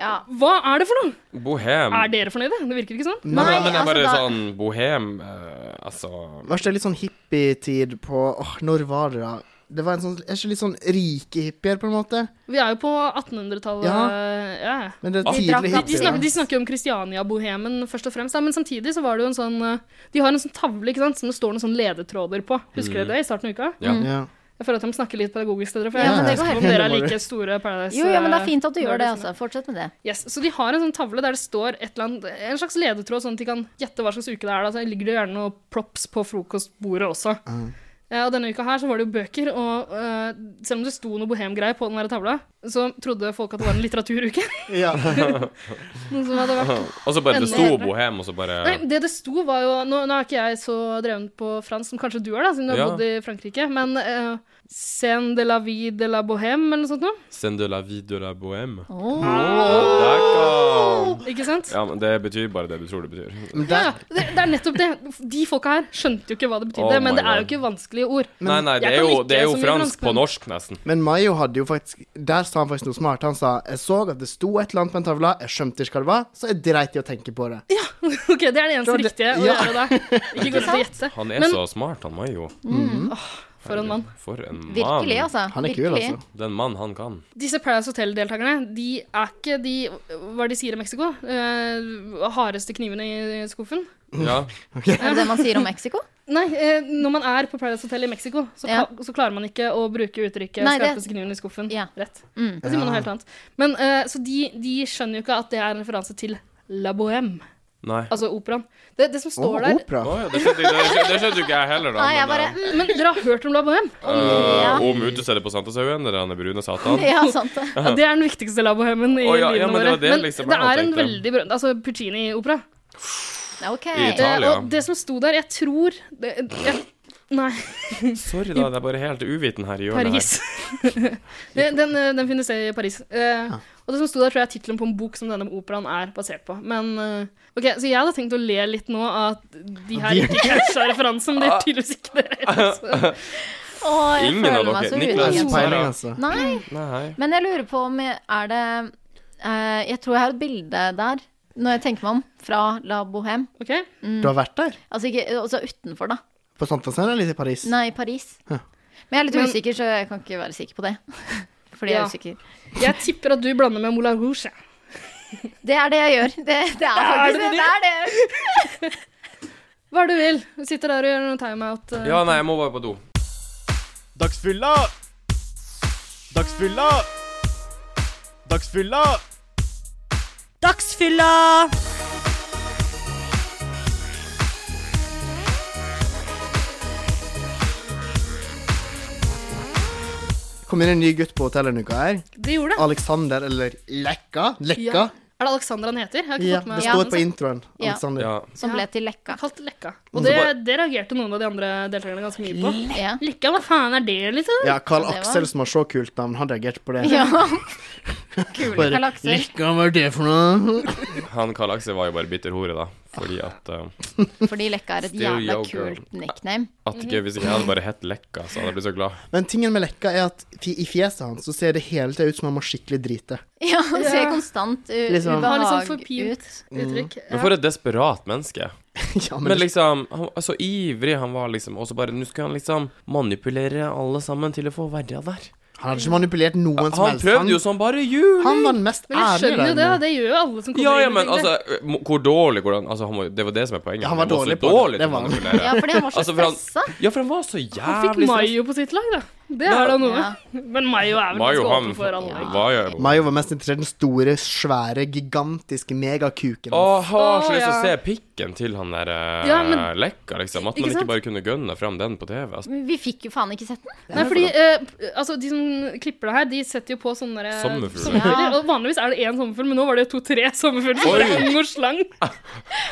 Speaker 1: Ja.
Speaker 3: Hva er det for noe?
Speaker 5: Bohem.
Speaker 3: Er dere fornøyde? Det virker ikke sånn.
Speaker 5: Nei,
Speaker 1: Nei,
Speaker 5: men det er bare
Speaker 1: altså, da-
Speaker 5: sånn bohem eh, Altså
Speaker 2: Var ikke det litt sånn hippietid på Åh, når var det, da? Det var en sånn Er ikke litt sånn rike hippier, på en måte?
Speaker 3: Vi er jo på 1800-tallet.
Speaker 2: Ja.
Speaker 3: eh, Ja. ja.
Speaker 2: Men det er
Speaker 1: drakk
Speaker 5: Ah.
Speaker 2: tidlig
Speaker 3: De, de,
Speaker 2: hippier.
Speaker 3: snakker, de snakker jo om Kristiania-bohemen først og fremst, da, men samtidig så var det jo en sånn eh, De har en sånn tavle ikke sant, som det står noen sånne ledetråder på. Husker dere det i starten av uka?
Speaker 5: Ja.
Speaker 2: Ja.
Speaker 3: Jeg føler at de snakker litt pedagogisk til dere, for
Speaker 1: Mm. Ja,
Speaker 3: jeg
Speaker 1: men
Speaker 3: vet
Speaker 1: det
Speaker 3: ikke
Speaker 1: går
Speaker 3: om
Speaker 2: helt
Speaker 3: dere er
Speaker 2: fint.
Speaker 3: like store Paradise
Speaker 1: Jo, ja, men det er fint at du gjør det.
Speaker 3: nerds, men-
Speaker 1: altså. Fortsett med det.
Speaker 3: Yes, så de har en sånn tavle der det står et eller annet, en slags ledetråd, sånn at de kan gjette hva slags uke det er. Da. Så ligger det gjerne noen props på frokostbordet også.
Speaker 1: Ah.
Speaker 3: Eh, og denne uka her så var det jo bøker, og eh, selv om det sto noe bohemgreier på den der tavla, så trodde folk at det var en litteraturuke.
Speaker 2: Ja.
Speaker 3: noe som hadde vært...
Speaker 5: Og så bare Det sto
Speaker 3: Enda bedre.
Speaker 5: bohem, og så bare
Speaker 3: Nei, det det sto var jo Nå, nå er ikke jeg så dreven på fransk som kanskje du er, da, siden du har
Speaker 5: Ja.
Speaker 3: bodd i Frankrike, men eh, Scène de la vie de la bohème, eller noe sånt noe.
Speaker 5: Send de la vie de la bohem. Der kom-
Speaker 3: Ikke sant?
Speaker 5: Ja, men det betyr bare det du tror det betyr.
Speaker 2: Men
Speaker 3: Ja,
Speaker 2: der,
Speaker 3: det, det er nettopp det. De folka her skjønte jo ikke hva det betydde,
Speaker 5: Oh my
Speaker 3: men det er jo
Speaker 5: God.
Speaker 3: ikke vanskelige ord.
Speaker 5: Nei, nei,
Speaker 3: jeg
Speaker 5: det er
Speaker 3: kan
Speaker 5: jo,
Speaker 3: ikke
Speaker 5: det er
Speaker 3: så
Speaker 5: jo
Speaker 3: mye fransk,
Speaker 5: fransk på
Speaker 3: men-
Speaker 5: norsk, nesten.
Speaker 2: Men Mayo hadde jo faktisk Der sa han faktisk noe smart. Han sa jeg så at det sto et eller annet på en tavle, jeg skjønte ikke hva det var, så jeg dreit i å tenke på det.
Speaker 3: Ok, Det er det eneste
Speaker 2: Det var det-
Speaker 3: riktige å
Speaker 2: ja.
Speaker 3: gjøre da. Ikke gå rundt og gjette.
Speaker 5: Han er
Speaker 3: Men-
Speaker 5: så smart, han Mayo.
Speaker 3: Åh, For en mann.
Speaker 5: For en mann.
Speaker 1: Virkelig, altså.
Speaker 2: Han er kul,
Speaker 1: Virkelig.
Speaker 2: altså.
Speaker 5: Den mann han kan.
Speaker 3: Disse Paradise Hotel-deltakerne de er ikke de Hva er det de sier i Mexico? Eh, hardeste knivene i skuffen?
Speaker 5: Ja.
Speaker 1: Er det det man sier om Mexico?
Speaker 3: Nei, eh, når man er på Paradise Hotel i Mexico, så,
Speaker 1: Ja.
Speaker 3: ka- så klarer man ikke å bruke uttrykket
Speaker 1: Nei, det-
Speaker 3: 'skarpeste kniven i skuffen'
Speaker 1: Ja.
Speaker 3: rett.
Speaker 1: Mm.
Speaker 3: Da sier man noe helt annet. Men, eh, så de, de skjønner jo ikke at det er en referanse til La Bohème,
Speaker 5: Nei.
Speaker 3: altså operaen. Det, det som
Speaker 2: Og
Speaker 3: står der
Speaker 5: Å
Speaker 2: opera.
Speaker 5: ja, det skjønte, det, skjønte, det skjønte jo ikke jeg heller, da.
Speaker 1: Nei, jeg bare
Speaker 5: men,
Speaker 1: mm,
Speaker 3: Men dere har hørt om La Bohème?
Speaker 5: eh,
Speaker 1: ja.
Speaker 5: Om utestedet på Santashaugen, der han er brune satan.
Speaker 1: Ja, sant det.
Speaker 3: Ja, det er den viktigste La Bohemen i
Speaker 5: Å, ja, ja,
Speaker 3: livene
Speaker 5: men det
Speaker 3: våre.
Speaker 5: var det,
Speaker 3: men
Speaker 5: liksom,
Speaker 3: det
Speaker 5: jeg
Speaker 3: er en
Speaker 5: tenkte.
Speaker 3: veldig berømt Altså Puccini-opera.
Speaker 1: OK.
Speaker 5: I
Speaker 3: Eh,
Speaker 5: Italia.
Speaker 3: og det som sto der, jeg tror det, jeg, Nei,
Speaker 5: Sorry, da. Det er bare helt uviten her i hjørnet.
Speaker 3: Paris. den, den, eh, den finnes i Paris. Eh, og det som sto der, tror jeg er tittelen på en bok som denne operaen er basert på. Men eh, ok, Så jeg hadde tenkt å le litt nå at de her ikke catcha referansen, men det er tydeligvis ikke dere. Så-
Speaker 1: Å, jeg
Speaker 5: Ingen av
Speaker 1: føler meg
Speaker 5: dere.
Speaker 1: så
Speaker 5: Niklas,
Speaker 1: udagen.
Speaker 2: Ingen
Speaker 5: Sara.
Speaker 2: peiling, altså.
Speaker 1: Nei,
Speaker 5: her. Nei.
Speaker 1: men jeg lurer på om jeg, Er det eh, Jeg tror jeg har et bilde der, når jeg tenker meg om, fra La Bohème.
Speaker 3: Ok,
Speaker 2: Du har vært der?
Speaker 1: Altså ikke Altså utenfor, da.
Speaker 2: På Sankthanshaugen eller i Paris?
Speaker 1: Nei, Paris.
Speaker 2: Ja.
Speaker 1: Men jeg er litt
Speaker 3: Men-
Speaker 1: usikker, så jeg kan ikke være sikker på det. Fordi jeg
Speaker 3: Ja.
Speaker 1: er usikker.
Speaker 3: Jeg tipper at du blander med Moulin Rouge. jeg.
Speaker 1: Det er det jeg gjør. Det, det er faktisk det.
Speaker 3: det du
Speaker 1: Det er det. jeg gjør.
Speaker 3: Hva er det du vil? Du sitter der og gjør noe timeout. eh.
Speaker 5: Ja, nei, jeg må bare på do.
Speaker 7: Dagsfylla! Dagsfylla! Dagsfylla!
Speaker 4: Dagsfylla!
Speaker 2: Kom inn en ny gutt på hotellet en uke her.
Speaker 3: Det gjorde det.
Speaker 2: Alexander eller Lekka? Lekka?
Speaker 3: Ja. Er det Alexander han heter? Jeg har ikke
Speaker 2: Ja,
Speaker 3: fått
Speaker 2: det
Speaker 3: med meg
Speaker 2: står
Speaker 3: navnet.
Speaker 2: på introen.
Speaker 1: Ja.
Speaker 2: Alexander.
Speaker 5: Ja.
Speaker 1: Som ble til Lekka.
Speaker 3: Jeg kalte Lekka. Og det, det reagerte noen av de andre deltakerne ganske mye på.
Speaker 1: Ja.
Speaker 3: Lekka, hva faen er det, liksom?
Speaker 2: Ja, Carl
Speaker 1: Det var-
Speaker 2: Aksel, som har så kult navn, han reagerte på det.
Speaker 1: ja.
Speaker 2: Bare,
Speaker 1: Carl Aksel.
Speaker 2: Lekka, hva er det for noe?
Speaker 5: Han Karl Aksel var jo bare bitter hore, da. Fordi at eh,
Speaker 1: Fordi Lekka er et
Speaker 5: Still
Speaker 1: jævla
Speaker 5: yo, girl.
Speaker 1: kult nickname.
Speaker 5: At ikke, Hvis ikke jeg hadde bare hett Lekka, så hadde jeg blitt så glad.
Speaker 2: Men tingen med Lekka er at fi- i fjeset hans så ser det hele tida ut som han må skikkelig drite.
Speaker 1: Ja, han ser konstant u
Speaker 2: Liksom.
Speaker 3: Har
Speaker 1: ubehag
Speaker 3: litt sånn forpint
Speaker 1: ut.
Speaker 3: uttrykk.
Speaker 2: Mm.
Speaker 5: Men for et desperat menneske.
Speaker 2: ja, men
Speaker 5: Men
Speaker 2: det,
Speaker 5: liksom, han var så ivrig han var, liksom. Og så bare Nå skulle han liksom manipulere alle sammen til å få være der.
Speaker 2: han hadde ikke manipulert noen som
Speaker 5: Han
Speaker 2: helst.
Speaker 5: prøvde jo som bare jul!
Speaker 2: han var den mest
Speaker 3: Men jeg
Speaker 2: ærlige
Speaker 3: skjønner jo det,
Speaker 2: der.
Speaker 3: det gjør jo alle som kommer
Speaker 5: Ja, ja,
Speaker 3: inn.
Speaker 5: men
Speaker 3: tenker jeg.
Speaker 5: altså mo- Hvor dårlig hvordan altså, han var, Det var det som er poenget.
Speaker 2: Ja, han var
Speaker 5: så
Speaker 2: dårlig på det.
Speaker 5: dårlig til
Speaker 2: Det var
Speaker 5: å
Speaker 2: han.
Speaker 5: manipulere.
Speaker 1: Ja, fordi han var så
Speaker 5: Altså, for han-
Speaker 1: stressa.
Speaker 5: Ja, for han var så
Speaker 3: han fikk
Speaker 5: jævlig stress.
Speaker 3: Mayo på sitt lag, da. Det er da noe.
Speaker 1: Ja.
Speaker 3: Men Mayo er vel
Speaker 5: Mayo,
Speaker 3: ganske
Speaker 5: han
Speaker 3: åpen for alle.
Speaker 5: var jo
Speaker 2: Mayo var mest interessert i den store, svære, gigantiske megakuken.
Speaker 5: Å, jeg har så
Speaker 3: Å,
Speaker 5: lyst til å
Speaker 3: ja.
Speaker 5: se pikken til han der eh,
Speaker 3: Ja, men-
Speaker 5: Lekka, liksom. At
Speaker 3: Ikke
Speaker 5: man ikke
Speaker 3: sant?
Speaker 5: bare kunne gønne fram den på TV. Altså.
Speaker 1: Men Vi fikk jo faen ikke sett den.
Speaker 3: Nei, fordi eh, altså, De som klipper det her, de setter jo på sånne der- eh,
Speaker 5: Sommerfugler.
Speaker 1: Ja.
Speaker 3: Og vanligvis er det én sommerfugl, men nå var det jo to-tre sommerfugler. Så
Speaker 5: Oi.
Speaker 3: det er ung og slang.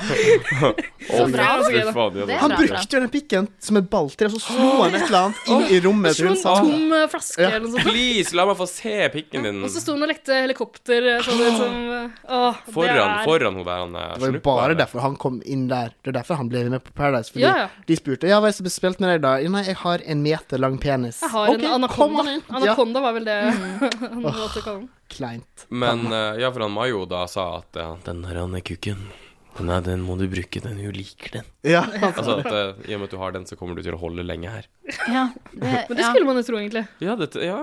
Speaker 5: Å,
Speaker 1: bra.
Speaker 5: fy faen, de hadde-
Speaker 1: Det er
Speaker 2: han
Speaker 1: bra, bra.
Speaker 2: brukte jo den pikken som en balltre, og så slo han et eller annet inn i rommet til
Speaker 3: Slo
Speaker 2: hun
Speaker 3: en
Speaker 2: sa
Speaker 3: tom eh, flaske
Speaker 2: Ja.
Speaker 3: eller noe sånt.
Speaker 5: Please, la meg få se pikken din
Speaker 3: Og så sto han og lekte helikopter eh, sånn ut som eh, Åh, det
Speaker 5: foran,
Speaker 3: er
Speaker 5: foran hun der han eh,
Speaker 2: Det var jo
Speaker 5: snuppa,
Speaker 2: bare
Speaker 5: eller?
Speaker 2: derfor han kom inn der. Det er derfor han ble med på Paradise. Fordi
Speaker 3: Ja, ja.
Speaker 2: de spurte Ja, hva er det som ble spilt med deg, da? «Ja, Nei, jeg har en meter lang penis.
Speaker 3: Jeg har
Speaker 2: Ok,
Speaker 3: en
Speaker 2: kom
Speaker 3: anakonda.
Speaker 2: han inn. Mm.
Speaker 3: Anakonda var vel det han valgte å kalle den.
Speaker 2: Ja, kleint.
Speaker 5: Men eh, ja, for han Mayo da sa at eh, Den her han er kukken. Den, er, den må du bruke, den du liker den.
Speaker 2: Ja,
Speaker 5: Altså at eh, i og med at du har den, så kommer du til å holde lenge her.
Speaker 1: Ja, det,
Speaker 3: Men det
Speaker 1: ja.
Speaker 3: skulle man jo tro, egentlig.
Speaker 5: Ja, dette, ja.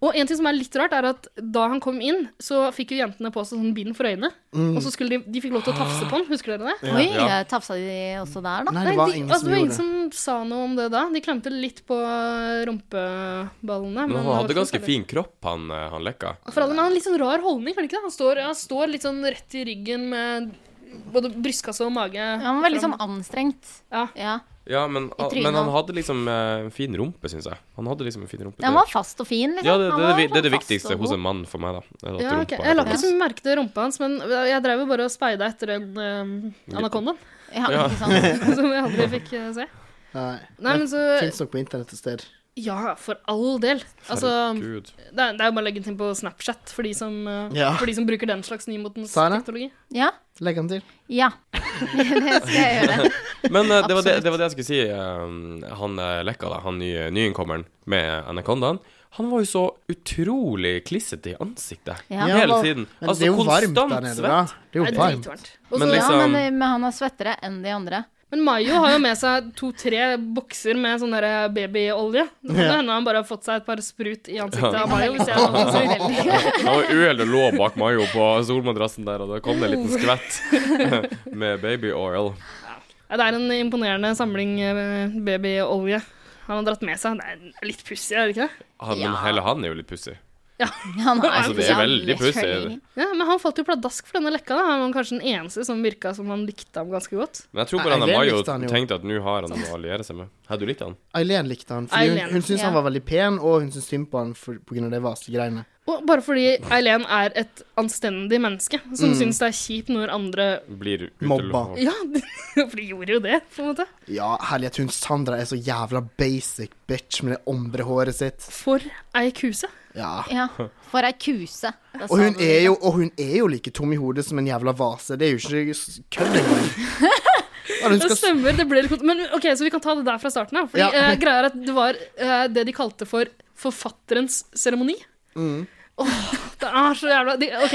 Speaker 3: Og en ting som er litt rart, er at da han kom inn, så fikk jo jentene på seg sånn bind for øynene.
Speaker 2: Mm.
Speaker 3: Og så skulle de De fikk lov til å tafse på han, husker dere det?
Speaker 1: Oi,
Speaker 5: Ja.
Speaker 1: tafsa de også der, da?
Speaker 2: Nei, det var
Speaker 3: de,
Speaker 2: ingen
Speaker 3: altså,
Speaker 2: som
Speaker 3: det var
Speaker 2: gjorde
Speaker 3: ingen
Speaker 2: det.
Speaker 3: som sa noe om det da. De klemte litt på rumpeballene.
Speaker 5: Men han
Speaker 3: det var
Speaker 5: hadde
Speaker 3: ikke noe
Speaker 5: ganske
Speaker 3: særlig.
Speaker 5: fin kropp, han, eh, han Lekka.
Speaker 3: For alle, men han har en litt sånn rar holdning, kan det ikke? det? Han står, han står litt sånn rett i ryggen med både brystkasse og mage.
Speaker 1: Han var veldig sånn anstrengt.
Speaker 3: Ja.
Speaker 1: Ja.
Speaker 5: Ja, men, ah,
Speaker 1: I trynet.
Speaker 5: men han hadde liksom eh, en fin rumpe, syns jeg. Han hadde liksom en fin rumpe.
Speaker 1: Han var fast og fin, liksom.
Speaker 5: ja, det,
Speaker 1: Han
Speaker 5: det, er det,
Speaker 1: var
Speaker 5: vi- det er det
Speaker 1: sånn fast
Speaker 5: viktigste
Speaker 1: og
Speaker 5: hos
Speaker 1: god.
Speaker 5: en mann for meg, da. At
Speaker 3: Ja,
Speaker 5: rumpa liksom.
Speaker 3: ok.
Speaker 5: er
Speaker 3: Jeg la
Speaker 5: fin.
Speaker 3: ikke så mye merke til rumpa hans, men jeg drev jo bare og speida etter den eh, anakondaen
Speaker 1: Ja,
Speaker 5: Ja.
Speaker 1: ikke sant?
Speaker 3: som jeg aldri fikk eh, se.
Speaker 2: Nei.
Speaker 3: Nei, men så
Speaker 2: Fins nok på internett et sted.
Speaker 3: Ja, for all del. Altså,
Speaker 1: um,
Speaker 3: det
Speaker 5: Herregud.
Speaker 3: er, det er jo bare å legge den til på Snapchat for de som, eh,
Speaker 2: Ja.
Speaker 3: for de som bruker den slags nymotens
Speaker 2: Sara?
Speaker 3: teknologi.
Speaker 1: Ja.
Speaker 2: Legg han til.
Speaker 1: Ja. Det skal jeg gjøre.
Speaker 5: Men eh, det, var det, det var det jeg skulle si. eh, han eh, Lekka, da, han nye, nyinnkommeren med Anacondaen, han var jo så utrolig klissete i ansiktet
Speaker 1: Ja.
Speaker 2: Ja,
Speaker 5: hele
Speaker 2: hva-
Speaker 5: tiden.
Speaker 2: Men det er jo varmt
Speaker 5: Altså, konstant
Speaker 2: der nede,
Speaker 5: svett.
Speaker 2: da. Det er
Speaker 3: Det
Speaker 2: jo
Speaker 3: er
Speaker 2: varmt.
Speaker 3: dritvarmt. Og
Speaker 5: Men
Speaker 3: så-
Speaker 1: Ja,
Speaker 5: liksom-
Speaker 1: men, men han er svettere enn de andre.
Speaker 3: Men Mayo har jo med seg to-tre bokser med sånn der babyolje. Det kan
Speaker 2: Ja.
Speaker 3: hende han bare har fått seg et par sprut i ansiktet
Speaker 5: Ja.
Speaker 3: av Mayo. Hvis jeg er noe som sier.
Speaker 5: Det var uhell å lå bak Mayo på solmadrassen der, og da kom det en liten skvett med baby oil.
Speaker 3: Ja, Det er en imponerende samling eh, babyolje han har dratt med seg. Det er litt pussig, er det ikke det?
Speaker 5: Han, Men hele han er jo litt pussig.
Speaker 1: Han er,
Speaker 5: Altså, det er veldig pussig.
Speaker 3: Ja, Men han falt jo pladask for denne lekka. da. Han var kanskje den eneste som virka som han likte ham ganske godt.
Speaker 5: Men jeg tror
Speaker 2: Nei,
Speaker 5: bare han
Speaker 2: Eileen
Speaker 5: Mayo
Speaker 2: likte han jo.
Speaker 5: tenkte at nå har han noe å alliere seg med. Hadde du likt han?
Speaker 2: Eileen likte han, fordi hun,
Speaker 3: Eileen,
Speaker 2: hun syntes
Speaker 3: ja.
Speaker 2: han var veldig pen, og hun syntes synd på han for, på grunn av de vaselige greiene.
Speaker 3: Og bare fordi Eileen er et anstendig menneske som
Speaker 2: Mm.
Speaker 3: syns det er kjipt når andre
Speaker 5: Blir utel-
Speaker 2: Mobba.
Speaker 3: Ja, for de gjorde jo det, på en måte.
Speaker 2: Ja, herlighet, hun Sandra er så jævla basic bitch med det ombre håret sitt.
Speaker 3: For ei kuse.
Speaker 2: Ja.
Speaker 1: Ja, for ei kuse. Da sa
Speaker 2: Og hun
Speaker 1: du
Speaker 2: er
Speaker 1: det.
Speaker 2: jo, og hun er jo like tom i hodet som en jævla vase. Det er jo ikke s- kødd engang. Ja, hun
Speaker 3: Det
Speaker 2: skal s-
Speaker 3: stemmer. det ble litt kont- Men ok, Så vi kan ta det der fra starten av. Fordi
Speaker 2: Ja.
Speaker 3: eh, greia er at Det var eh, det de kalte for forfatterens seremoni. Åh, det er så jævla de, Ok,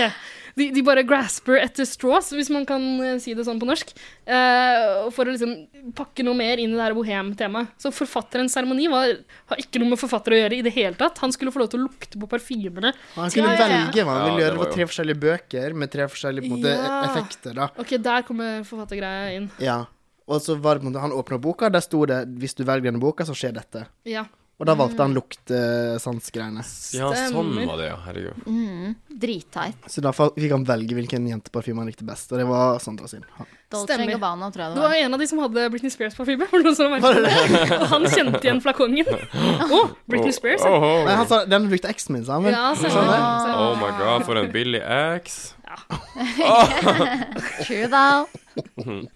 Speaker 3: de, de bare grasper etter straws, hvis man kan eh, si det sånn på norsk. eh, for å liksom pakke noe mer inn i det her bohem-temaet. Så forfatterens seremoni var- har ikke noe med forfatter å gjøre i det hele tatt. Han skulle få lov til å lukte på parfymene.
Speaker 2: han kunne
Speaker 1: Ja, ja, ja.
Speaker 2: velge hva han ville
Speaker 5: Ja,
Speaker 2: gjøre. Det
Speaker 5: det var
Speaker 2: var
Speaker 5: jo-
Speaker 2: tre forskjellige bøker med tre forskjellige på en måte,
Speaker 3: Ja.
Speaker 2: effekter. da
Speaker 3: Ok, der kommer forfattergreia inn.
Speaker 2: Ja. Og så var det på en måte Han åpna boka, der sto det 'Hvis du velger denne boka, så skjer dette'.
Speaker 3: Ja.
Speaker 2: Og da valgte han eh, luktesansgreiene.
Speaker 5: Ja, sånn
Speaker 3: Stemmer.
Speaker 5: var det, ja. Herregud.
Speaker 1: Dritteit.
Speaker 2: Så da fa- fikk han velge hvilken jenteparfyme han likte best, og det var Sandra sin. Han-
Speaker 1: Dolce
Speaker 3: Stemmer.
Speaker 1: Gabbana, tror jeg
Speaker 3: Det
Speaker 1: det var.
Speaker 3: var en av de som hadde Britney Spears-parfyme. var det noen som merket det? Og han kjente igjen flakongen. Å, Britney Spears! ja.
Speaker 5: Oh, oh,
Speaker 2: Nei, han sa den brukte eksen min, sa han vel?
Speaker 3: Ja,
Speaker 1: Sånn,
Speaker 3: stemmer. det.
Speaker 5: oh. oh my god, for en billig ex.
Speaker 1: True, da.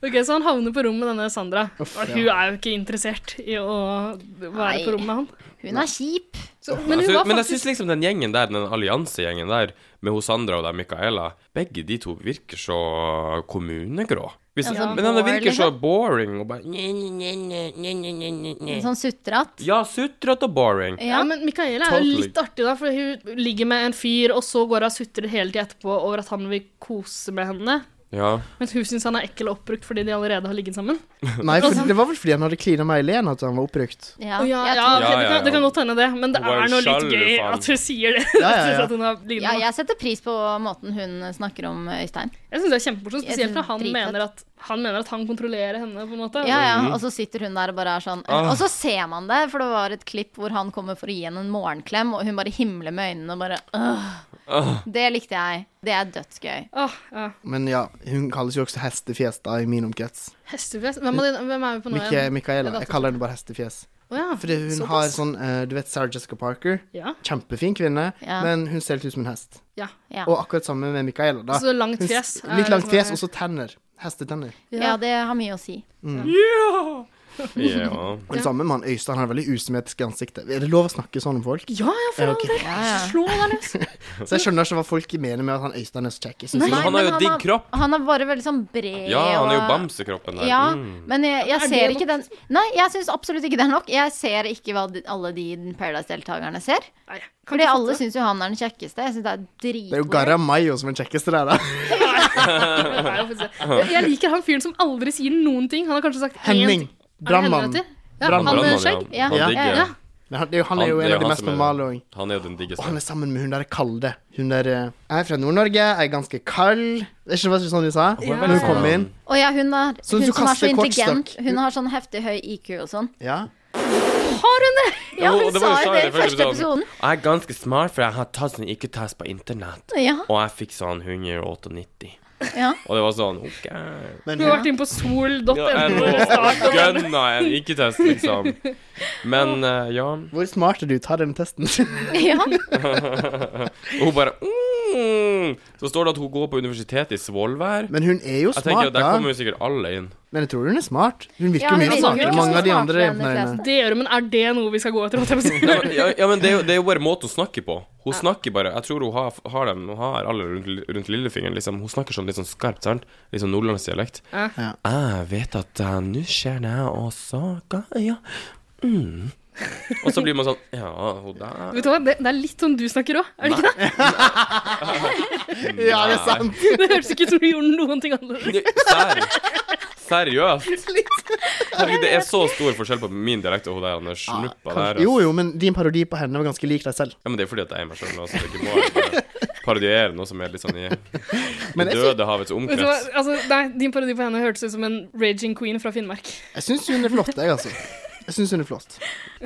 Speaker 3: Ok, Så han havner på rom med denne Sandra. Og hun er jo ikke interessert i å være
Speaker 1: Nei.
Speaker 3: på rom med han.
Speaker 1: Hun er kjip.
Speaker 3: Så, men hun
Speaker 5: Jeg synes-
Speaker 3: var
Speaker 5: men jeg syns
Speaker 3: faktisk
Speaker 5: liksom den gjengen der, den alliansegjengen der, med hos Sandra og der Micaela, begge de to virker så kommunegrå. Hvis,
Speaker 1: Ja, sånn
Speaker 5: men den
Speaker 1: boring,
Speaker 5: virker så boring og bare nye, nye, nye, nye, nye, nye, nye.
Speaker 1: Sånn sutret.
Speaker 5: Ja, sutrete og boring.
Speaker 3: ja, men Micaela er jo
Speaker 5: Totally.
Speaker 3: litt artig, da, for hun ligger med en fyr, og så går hun og sutrer hele tida etterpå over at han vil kose med henne.
Speaker 5: Ja.
Speaker 3: Mens hun syns han er ekkel og oppbrukt fordi de allerede har ligget sammen.
Speaker 2: Nei, for det var vel fordi han hadde klina med Eileen at han var oppbrukt.
Speaker 1: Ja.
Speaker 3: Å, ja,
Speaker 1: Jeg
Speaker 3: ja,
Speaker 1: tror-
Speaker 3: ok, det,
Speaker 5: Ja, ja,
Speaker 3: kan, det
Speaker 5: ja.
Speaker 3: kan godt hende, det. Men det
Speaker 5: Hun var jo
Speaker 3: er noe litt
Speaker 5: sjalu,
Speaker 3: gøy
Speaker 5: faen.
Speaker 3: at hun sier det.
Speaker 2: Ja, ja,
Speaker 3: Jeg synes
Speaker 2: ja.
Speaker 3: at hun har lignet
Speaker 1: ja,
Speaker 3: med
Speaker 1: jeg setter pris på måten hun snakker om Øystein.
Speaker 3: Jeg syns det er kjempemorsomt,
Speaker 1: Jeg
Speaker 3: spesielt
Speaker 1: synes
Speaker 3: når han
Speaker 1: det er
Speaker 3: mener, at, han mener at han kontrollerer henne, på en måte.
Speaker 1: Ja, ja, Og så sitter hun der og bare er sånn
Speaker 5: Mm. Ah.
Speaker 1: Og så ser man det, for det var et klipp hvor han kommer for å gi henne en morgenklem, og hun bare himler med øynene og bare «Åh».
Speaker 5: Ah.
Speaker 1: Det likte jeg. Det er dødsgøy.
Speaker 3: Åh, ja.
Speaker 2: Men ja, hun kalles jo også Hestefjes da, i min omkrets.
Speaker 3: Hestefjes. Hvem, er det- hvem er vi på nå
Speaker 2: Mika Micaela.
Speaker 3: datter.
Speaker 2: Jeg kaller henne bare Hestefjes.
Speaker 3: Å ja.
Speaker 2: Fordi hun
Speaker 3: Såpass.
Speaker 2: har sånn eh, Du vet Sarah Jessica Parker?
Speaker 3: Ja.
Speaker 2: Kjempefin kvinne,
Speaker 1: Ja.
Speaker 2: men hun ser litt ut som en hest.
Speaker 3: ja.
Speaker 1: Ja.
Speaker 2: Og akkurat samme med Micaela. da.
Speaker 3: Så langt
Speaker 2: Hun s-
Speaker 3: fjes er
Speaker 2: Litt langt
Speaker 3: liksom-
Speaker 2: fjes, og så tenner. Hestetenner.
Speaker 1: ja, det har mye å si.
Speaker 5: ja.
Speaker 2: Og det samme med han Øystein. Han har veldig usymmetrisk i ansiktet. Er det lov å snakke sånn om folk?
Speaker 3: Ja, ja, for
Speaker 2: Ja,
Speaker 3: all
Speaker 2: ok.
Speaker 3: del.
Speaker 1: Ja, ja.
Speaker 3: Slå deg løs.
Speaker 2: Så jeg skjønner ikke hva folk mener med at han Øystein er så kjekk. Jeg synes
Speaker 5: Men
Speaker 1: Nei,
Speaker 5: han har
Speaker 1: men
Speaker 5: jo digg kropp.
Speaker 1: Han er bare veldig sånn bred.
Speaker 5: Ja, han er jo
Speaker 1: og-
Speaker 5: bamsekroppen der.
Speaker 1: Ja,
Speaker 5: Mm.
Speaker 1: men jeg,
Speaker 3: Er
Speaker 1: jeg
Speaker 3: det
Speaker 1: ser
Speaker 3: nok?
Speaker 1: ikke den Nei, jeg syns absolutt ikke det er nok. Jeg ser ikke hva de, alle de Paradise-deltakerne ser.
Speaker 3: Nei, kan ikke
Speaker 1: Fordi
Speaker 3: fatte
Speaker 1: alle
Speaker 3: det.
Speaker 1: syns jo han er den kjekkeste. Jeg syns det er
Speaker 2: Det er jo
Speaker 1: dritbra.
Speaker 2: Garam Mayo som er den kjekkeste der, da.
Speaker 3: Det er jo faktisk det. Jeg liker han fyren som aldri sier noen ting. Han har kanskje sagt én
Speaker 2: Henning.
Speaker 3: ting. Er det
Speaker 2: Brannmann.
Speaker 3: Henriette? Ja,
Speaker 2: Brannmann.
Speaker 3: han med
Speaker 5: Brannmann,
Speaker 3: skjegg.
Speaker 5: ja.
Speaker 1: Ja,
Speaker 5: Han
Speaker 2: ja,
Speaker 5: digger.
Speaker 3: ja.
Speaker 2: Men han, det er jo, han er jo
Speaker 5: det
Speaker 2: en av de
Speaker 5: han
Speaker 2: mest
Speaker 5: som er-
Speaker 2: normale òg.
Speaker 5: Han er jo den
Speaker 2: Og han
Speaker 5: diggeste.
Speaker 2: er sammen med hun der kalde. Hun der eh, Jeg er fra Nord-Norge, jeg er ganske kald. Det er ikke hva sånn de sa
Speaker 3: Ja.
Speaker 2: når hun kom inn.
Speaker 1: Og ja, hun er
Speaker 2: Så
Speaker 1: hun
Speaker 2: du
Speaker 1: som er så
Speaker 2: kaster
Speaker 1: intelligent.
Speaker 2: kortstokk.
Speaker 1: Hun har sånn heftig høy IQ og sånn.
Speaker 2: Ja.
Speaker 3: Har hun det?
Speaker 1: Ja,
Speaker 5: Jo,
Speaker 1: hun
Speaker 5: det var
Speaker 1: sa
Speaker 5: jo
Speaker 1: jo
Speaker 5: Sara
Speaker 1: det
Speaker 5: i
Speaker 1: i første
Speaker 5: første
Speaker 1: episoden.
Speaker 5: Jeg er ganske smart, for jeg har tatt som ikke tas på internett.
Speaker 1: Ja,
Speaker 5: Og jeg fikk sånn 198.
Speaker 1: ja.
Speaker 5: Og det var sånn OK.
Speaker 2: Men
Speaker 3: Hun har vært
Speaker 2: hun,
Speaker 3: inne på sol.no.
Speaker 5: Ja, jeg nå gønna en ikke-test, liksom. Men eh, ja.
Speaker 2: hvor smart er du? Ta den testen.
Speaker 1: ja.
Speaker 5: Og hun bare mm. Så står det at hun går på universitetet i Svolvær.
Speaker 2: Men hun er jo
Speaker 5: Jeg tenker
Speaker 2: smart,
Speaker 5: at
Speaker 2: da.
Speaker 5: Der kommer jo sikkert alle inn.
Speaker 2: Men jeg tror hun er smart. Hun virker
Speaker 1: Ja,
Speaker 2: jo
Speaker 1: hun
Speaker 2: mye
Speaker 1: virker
Speaker 2: smartere
Speaker 1: ikke
Speaker 2: enn mange
Speaker 1: så
Speaker 2: av de
Speaker 1: smart
Speaker 2: andre
Speaker 1: enn de
Speaker 2: jentene
Speaker 1: fleste.
Speaker 2: hennes.
Speaker 3: Det gjør hun, men er det noe vi skal gå etter? holdt jeg på å si?
Speaker 5: Ja, men- ja, ja, men det er, jo, det er jo bare måten hun snakker på. Hun snakker bare Jeg tror hun har, har dem Hun har alle rundt, rundt lillefingeren, liksom. Hun snakker sånn litt sånn skarpt, sant? Litt sånn nordlandsdialekt.
Speaker 3: Ja.
Speaker 2: Ja.
Speaker 5: Jeg vet at eh, nå skjer det, og så ga- Ja. Mm. Og så blir man sånn Ja, hun der
Speaker 3: Vet du hva, det, det er litt sånn du snakker òg, er det ikke det?
Speaker 2: Ja, det er sant.
Speaker 3: Det høres ikke ut som du gjorde noen ting annerledes.
Speaker 5: Nei, Serr. Seriøst? Herregud, det er så stor forskjell på min dialekt og hun der Anders Snuppa der. altså.
Speaker 2: Jo, jo, men din parodi på henne var ganske lik deg selv.
Speaker 5: Ja, men det er fordi at jeg er meg sjøl nå, så det ikke må jeg bare parodiere noe som er litt sånn i
Speaker 2: Men jeg, sy
Speaker 5: døde havets
Speaker 3: Vet du hva?
Speaker 5: omkrets.
Speaker 3: Altså, nei, din parodi på henne hørtes ut som en raging queen fra Finnmark.
Speaker 2: jeg syns hun er flott, jeg, altså. Jeg syns hun er flott.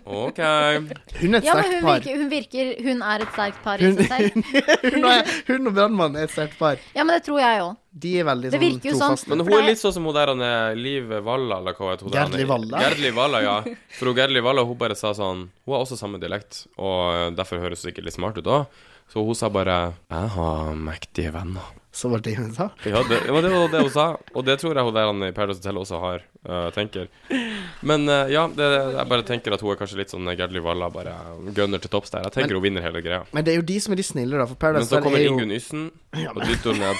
Speaker 5: OK.
Speaker 2: Hun er et
Speaker 1: Ja, men
Speaker 2: sterkt
Speaker 1: hun
Speaker 2: par.
Speaker 1: virker, hun virker Hun er et sterkt par i
Speaker 2: Hun,
Speaker 1: seg selv.
Speaker 2: hun, og, hun og brannmannen er et sterkt par.
Speaker 1: Ja, men det tror jeg òg.
Speaker 2: De er veldig
Speaker 1: Det
Speaker 2: sånn
Speaker 1: virker jo sånn.
Speaker 2: trofaste.
Speaker 5: Men hun er litt sånn som hun der han er Liv Valla, eller hva heter hun? der han er?
Speaker 2: Gerdli Valla?
Speaker 5: Gerdli Valla, ja. For hun Gerdli Valla hun bare sa sånn Hun har også samme dialekt, og derfor høres hun sikkert litt smart ut òg. Så hun sa bare 'Jeg har mektige venner'.
Speaker 2: Så var det det hun sa.
Speaker 5: Ja, det, ja, men det var det hun sa, og det tror jeg hun der han i Paradise Hotel også har, øh, tenker. Men øh, ja, det, jeg bare tenker at hun er kanskje litt sånn Gerdli Valla, bare gunner til topps der. Jeg tenker hun vinner hele greia.
Speaker 2: Men det er jo de som er de snille, da. For
Speaker 5: Men
Speaker 2: Paradise
Speaker 5: så
Speaker 2: Hotel
Speaker 5: kommer
Speaker 2: er jo
Speaker 5: Ingunn Yssen og dytter henne ned.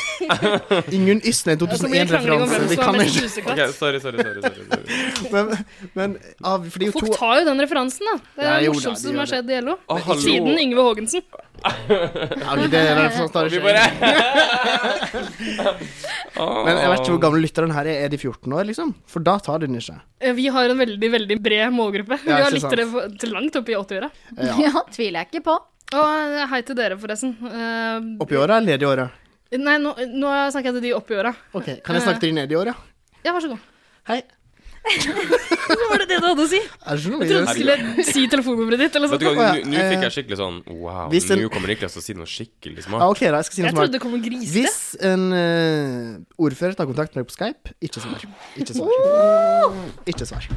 Speaker 2: Ingunn Ysne, en
Speaker 3: Og så blir det krangling om
Speaker 2: 2001-referanse.
Speaker 3: hvem
Speaker 2: Vi
Speaker 3: som
Speaker 2: kan
Speaker 3: er mest
Speaker 2: ikke
Speaker 5: OK,
Speaker 3: lusekatt.
Speaker 5: sorry, sorry, sorry. sorry, sorry.
Speaker 2: Men, men av, for det er jo
Speaker 3: Folk
Speaker 2: to
Speaker 3: tar jo den referansen, da. Det er
Speaker 2: Ja,
Speaker 3: det
Speaker 2: jo da, de
Speaker 3: morsomste som
Speaker 2: gjør
Speaker 3: har skjedd i LO.
Speaker 5: Å, hallo.
Speaker 3: Siden Yngve Haagensen.
Speaker 2: ja, ok, det er referansen tar
Speaker 5: Vi
Speaker 2: ikke
Speaker 5: bare Ah.
Speaker 2: jeg. Men jeg vet ikke hvor gamle lytteren her er. Er de 14 år, liksom? For da tar de den ikke.
Speaker 3: Eh, Vi har en veldig veldig bred målgruppe. Vi
Speaker 2: Ja,
Speaker 3: har
Speaker 2: ikke
Speaker 3: litt
Speaker 2: sant.
Speaker 3: til til langt opp i 80-åra.
Speaker 1: Ja. tviler jeg ikke på.
Speaker 3: Og eh, hei til dere, forresten. Eh,
Speaker 2: Oppi åra eller ned i åra?
Speaker 3: Nei, nå, nå snakker jeg til de oppi åra.
Speaker 2: Ok, kan jeg snakke til de ned i åra?
Speaker 3: Ja, vær så god.
Speaker 2: Hei.
Speaker 3: Hva var det det du hadde å si?
Speaker 2: Er det ikke noe
Speaker 3: Jeg trodde du
Speaker 2: videre?
Speaker 3: skulle si telefonnummeret ditt. eller sånn.
Speaker 5: Vet du hva,
Speaker 3: sånt.
Speaker 5: nå- nå fikk jeg skikkelig sånn Wow,
Speaker 2: altså, Hvis en-
Speaker 5: nå kommer Niklas til å si noe skikkelig
Speaker 2: Ja,
Speaker 5: smart.
Speaker 2: Ah, ok, da. Jeg skal si noe
Speaker 3: Jeg
Speaker 2: smart.
Speaker 3: trodde det kom en gris til.
Speaker 2: Hvis en eh, ordfører tar kontakt med deg på Skype, ikke svar. Ikke svar. Ikke svar.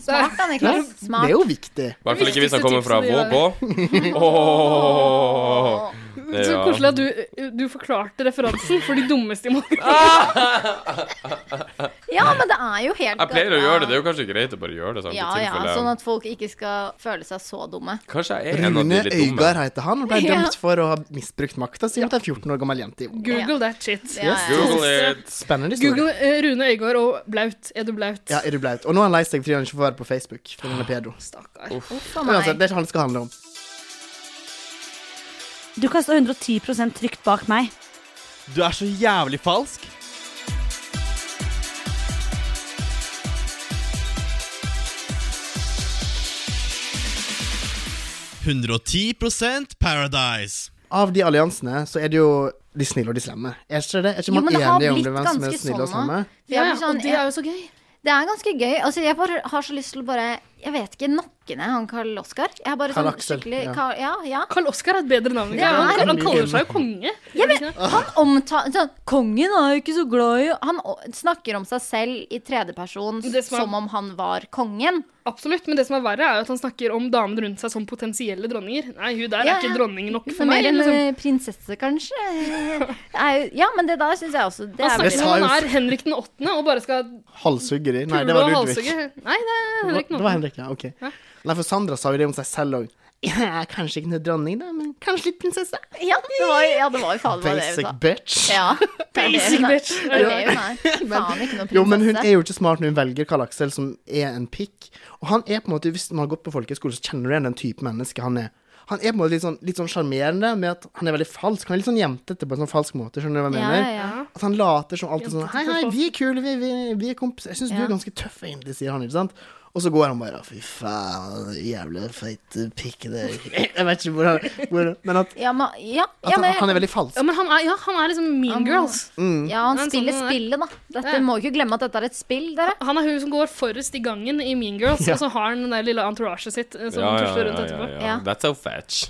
Speaker 1: Smart, da, Niklas.
Speaker 2: Det er
Speaker 1: Smart.
Speaker 2: jo viktig.
Speaker 5: I hvert fall ikke hvis
Speaker 3: Viktigste
Speaker 5: han kommer fra
Speaker 3: tipset de
Speaker 5: Vågå. Ååå.
Speaker 3: Så
Speaker 5: Ja.
Speaker 3: koselig at du, du forklarte referansen for de dummeste i målgruppa.
Speaker 2: Ah.
Speaker 1: Ja, men det er jo helt
Speaker 5: Jeg pleier å gjøre det. Det er jo kanskje greit å bare gjøre det. Sånn,
Speaker 1: Ja,
Speaker 5: i
Speaker 1: ja,
Speaker 5: tilfelle-
Speaker 1: sånn at folk ikke skal føle seg så dumme.
Speaker 5: Kanskje jeg er en av de
Speaker 2: Rune
Speaker 5: litt dumme.
Speaker 2: Øygard heter han, og ble
Speaker 1: Ja.
Speaker 2: dømt for å ha misbrukt makta si mot ei 14 år gammel jente. i-
Speaker 3: Google that shit.
Speaker 1: Ja, ja.
Speaker 5: Google it.
Speaker 2: Spennende historie.
Speaker 3: Google eh, Rune Øygard og Blaut. Er du blaut?
Speaker 2: Ja, er du blaut? Og nå er han lei seg fordi han ikke får være på Facebook, fordi han er pedo.
Speaker 3: Stakkar.
Speaker 1: For
Speaker 2: Men altså,
Speaker 1: meg.
Speaker 2: det er ikke han det skal handle om.
Speaker 4: Du kan stå 110 trygt bak meg.
Speaker 7: Du er så jævlig falsk. «110% Paradise.
Speaker 2: Av de alliansene så er det jo de snille og de slemme. Er ikke det? Er ikke
Speaker 1: Jo,
Speaker 2: man
Speaker 1: men det har
Speaker 2: enig om
Speaker 1: blitt
Speaker 2: det, hvem som er
Speaker 1: ganske
Speaker 2: snille og
Speaker 1: sånn
Speaker 2: slemme?
Speaker 1: nå. For
Speaker 3: Ja,
Speaker 1: jeg
Speaker 3: ja,
Speaker 1: blir sånn,
Speaker 3: og det er jo så gøy.
Speaker 1: Det er ganske gøy. Altså, jeg bare har så lyst til å bare Jeg vet ikke. Nakke ned han Karl Oskar. Jeg er bare
Speaker 2: Karl
Speaker 1: sånn
Speaker 2: Aksel,
Speaker 1: skikkelig
Speaker 2: ja.
Speaker 1: Karl, ja, ja.
Speaker 3: Karl Oskar er et bedre navn.
Speaker 1: Ja,
Speaker 3: Ja, han,
Speaker 1: det er
Speaker 3: han
Speaker 2: mye
Speaker 3: kaller
Speaker 2: gøy.
Speaker 3: seg jo konge.
Speaker 1: Han omtaler sånn, Kongen er jo ikke så glad i Han o- snakker om seg selv i tredjeperson
Speaker 3: Det som er-
Speaker 1: som om han var kongen.
Speaker 3: Absolutt, men det som er verre, er jo at han snakker om damene rundt seg som potensielle dronninger. Nei, hun der
Speaker 1: Ja,
Speaker 3: er ikke
Speaker 1: ja.
Speaker 3: dronning nok for
Speaker 1: Som
Speaker 3: meg.
Speaker 1: er en
Speaker 3: Liksom.
Speaker 1: eh, prinsesse, kanskje. Er jo- Ja, men det der syns jeg også Det
Speaker 3: Han
Speaker 1: er
Speaker 3: snakker
Speaker 2: veldig-
Speaker 3: som om han
Speaker 2: Jeg sa
Speaker 3: er Henrik den åttende og bare skal
Speaker 2: Halshugger de? Nei, det
Speaker 3: pule
Speaker 2: var
Speaker 3: og
Speaker 2: Ludvig.
Speaker 3: halshugge. Nei, det er Henrik
Speaker 2: Det
Speaker 3: den
Speaker 2: var
Speaker 3: åttende.
Speaker 2: Henrik, ja. Ok. Nei, for Sandra sa jo det om seg selv òg. Jeg er kanskje ikke noe dronning, da, men kanskje litt prinsesse.
Speaker 1: Ja, det var, ja, det var jo faen meg det hun
Speaker 2: Basic
Speaker 1: sa.
Speaker 2: bitch.
Speaker 1: Ja, det er det
Speaker 3: Basic
Speaker 1: hun er.
Speaker 3: bitch.
Speaker 1: Det er det hun er. Faen ikke noe prinsesse.
Speaker 2: Jo, men hun er jo ikke smart når hun velger Karl Aksel, som er en pikk. Og han er på en måte, hvis man har gått på folkehøyskole, så kjenner du igjen den type menneske han er. Han er på en måte litt sånn litt sånn sjarmerende med at han er veldig falsk. Han er litt sånn jentete på en sånn falsk måte, skjønner du hva jeg
Speaker 1: ja,
Speaker 2: mener?
Speaker 1: ja, ja.
Speaker 2: At han later som alltid sånn
Speaker 3: Jentete
Speaker 2: Hei, hei,
Speaker 3: forstå.
Speaker 2: vi er kule, vi, vi, vi er kompiser. Jeg syns du
Speaker 1: Ja.
Speaker 2: er ganske tøff, egentlig, sier han, ikke sant? Og så går han bare Fy faen, jævla feite pikk det er». Jeg vet ikke hvor han hvor, Men at,
Speaker 1: Ja, men, ja,
Speaker 2: at
Speaker 1: ja,
Speaker 2: han,
Speaker 1: men,
Speaker 2: Altså, han er veldig falsk.
Speaker 3: Ja, men han er, ja, han er liksom Mean Girls.
Speaker 1: ja, han
Speaker 3: Han er
Speaker 1: spiller
Speaker 3: sånn han er.
Speaker 1: spillet, da. Dette
Speaker 3: Ja.
Speaker 1: må ikke glemme at dette er et spill, dere.
Speaker 3: Han er hun som går forrest i gangen i Mean Girls, og så har han den der lille entouraget sitt eh, som tusler rundt etterpå.
Speaker 1: Ja.
Speaker 5: That's so fetch.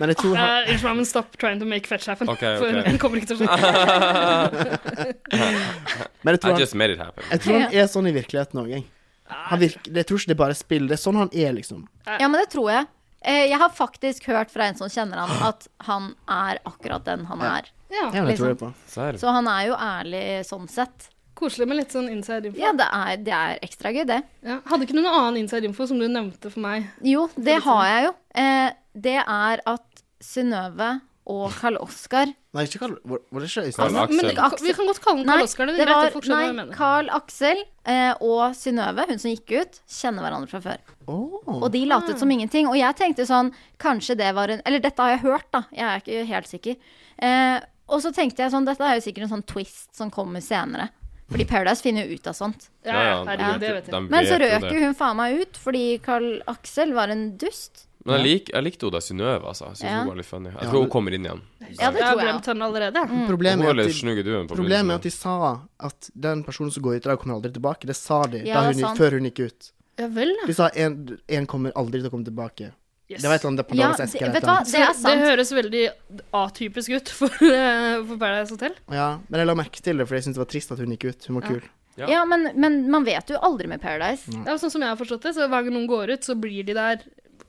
Speaker 2: Men jeg tror han
Speaker 3: Eh, Unnskyld meg, men stop trying to make fetch happen.
Speaker 5: Ok,
Speaker 3: For
Speaker 5: ok.
Speaker 3: den kommer ikke til å skje.
Speaker 2: Men jeg
Speaker 5: I
Speaker 2: tror han,
Speaker 5: just made it happen.
Speaker 2: jeg tror han er sånn i virkeligheten òg, jeg. Han virker, jeg tror ikke det er bare spill. Det er sånn han er, liksom.
Speaker 1: Ja, men det tror jeg. Eh, Jeg har faktisk hørt fra en som kjenner han, at han er akkurat den han er.
Speaker 2: Det er
Speaker 3: Ja,
Speaker 2: det jeg tror
Speaker 1: Liksom.
Speaker 2: jeg på.
Speaker 5: Serr.
Speaker 1: Så han er jo ærlig sånn sett.
Speaker 3: koselig med litt sånn inside info.
Speaker 1: Ja, det er, det er ekstra gøy, det.
Speaker 3: Ja. Hadde ikke du noe annen inside info som du nevnte for meg?
Speaker 1: Jo, det har jeg jo. Eh, Det er at Synnøve og Karl Oskar
Speaker 2: Nei, ikke Karl Var var det ikke
Speaker 5: Karl
Speaker 2: Øystein?
Speaker 3: Altså, men
Speaker 5: Aksel.
Speaker 3: det, vi kan godt kalle den Karl Oskar. Det er
Speaker 1: det
Speaker 3: greit
Speaker 1: var-
Speaker 3: at folk skjønner hva jeg
Speaker 1: nei,
Speaker 3: mener.
Speaker 1: Carl Aksel eh, og Synnøve, hun som gikk ut, kjenner hverandre fra før.
Speaker 2: Åh.
Speaker 1: Og de latet
Speaker 3: Ah.
Speaker 1: som ingenting. Og jeg tenkte sånn, kanskje det var en Eller dette har jeg hørt, da. Jeg er ikke helt sikker. Eh, og så tenkte jeg sånn, dette er jo sikkert en sånn twist som kommer senere. Fordi Paradise finner jo ut av sånt.
Speaker 3: Ja, ja, herregud, det vet jeg.
Speaker 1: Men så røk jo hun faen meg ut fordi Carl Aksel var en dust.
Speaker 5: Men jeg, lik, jeg likte Oda Synnøve, altså. Jeg synes
Speaker 1: Ja.
Speaker 5: hun var litt funny. Jeg
Speaker 2: Ja,
Speaker 5: tror
Speaker 2: men-
Speaker 5: hun kommer inn igjen.
Speaker 1: Ja, det
Speaker 3: Jeg har
Speaker 1: tror jeg. Mm.
Speaker 3: glemt henne allerede.
Speaker 5: Hun
Speaker 2: Problemet
Speaker 5: var
Speaker 2: er,
Speaker 5: litt
Speaker 2: at de,
Speaker 5: snug i duen på
Speaker 2: problemet er
Speaker 5: begynnelsen.
Speaker 2: at de sa at den personen som går ut i dag, kommer aldri tilbake. Det sa de
Speaker 1: Ja,
Speaker 2: da hun,
Speaker 1: sant.
Speaker 2: før hun gikk ut.
Speaker 3: Ja vel, da.
Speaker 2: De sa en, en kommer aldri til å komme tilbake.
Speaker 3: Yes.
Speaker 2: Det var et eller annet på
Speaker 1: Ja,
Speaker 2: Dallas
Speaker 1: det,
Speaker 2: Esker. eller
Speaker 1: vet
Speaker 2: et
Speaker 1: du hva,
Speaker 2: eller
Speaker 1: det er
Speaker 3: Det
Speaker 1: sant.
Speaker 3: høres veldig atypisk ut for, eh, for Paradise Hotel.
Speaker 2: annet. Ja, men jeg la merke til det, for jeg syntes det var trist at hun gikk ut. Hun var kul.
Speaker 5: Ja.
Speaker 1: Ja, men, men man vet jo aldri med Paradise.
Speaker 3: Det er jo sånn som jeg har forstått det, så Hver gang noen går ut, så blir de der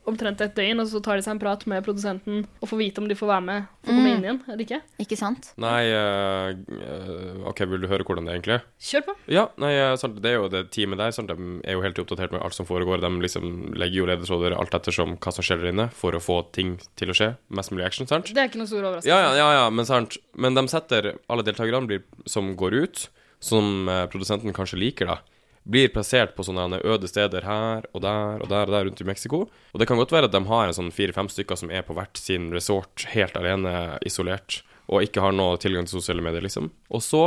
Speaker 3: omtrent et døgn, og så tar de seg en prat med produsenten og får vite om de får være med
Speaker 1: Mm.
Speaker 3: og komme inn igjen eller ikke.
Speaker 1: Ikke sant?
Speaker 5: Nei, eh, eh, OK, vil du høre hvordan det egentlig er?
Speaker 3: Kjør på.
Speaker 5: Ja, nei, eh, sant, det er jo det teamet der. Sant, de er jo helt oppdatert med alt som foregår. De liksom legger jo ledetråder alt ettersom hva som skjer der inne, for å få ting til å skje. Mest mulig action, sant?
Speaker 3: Det er ikke noe stor overraskelse.
Speaker 5: Ja, ja, ja, ja men sant. Men de setter alle deltakerne blir, som går ut, som eh, produsenten kanskje liker, da, blir plassert på sånne øde steder her og der og der og der rundt i Mexico. Og det kan godt være at de har en sånn fire-fem stykker som er på hvert sin resort helt alene, isolert, og ikke har noe tilgang til sosiale medier, liksom. Og så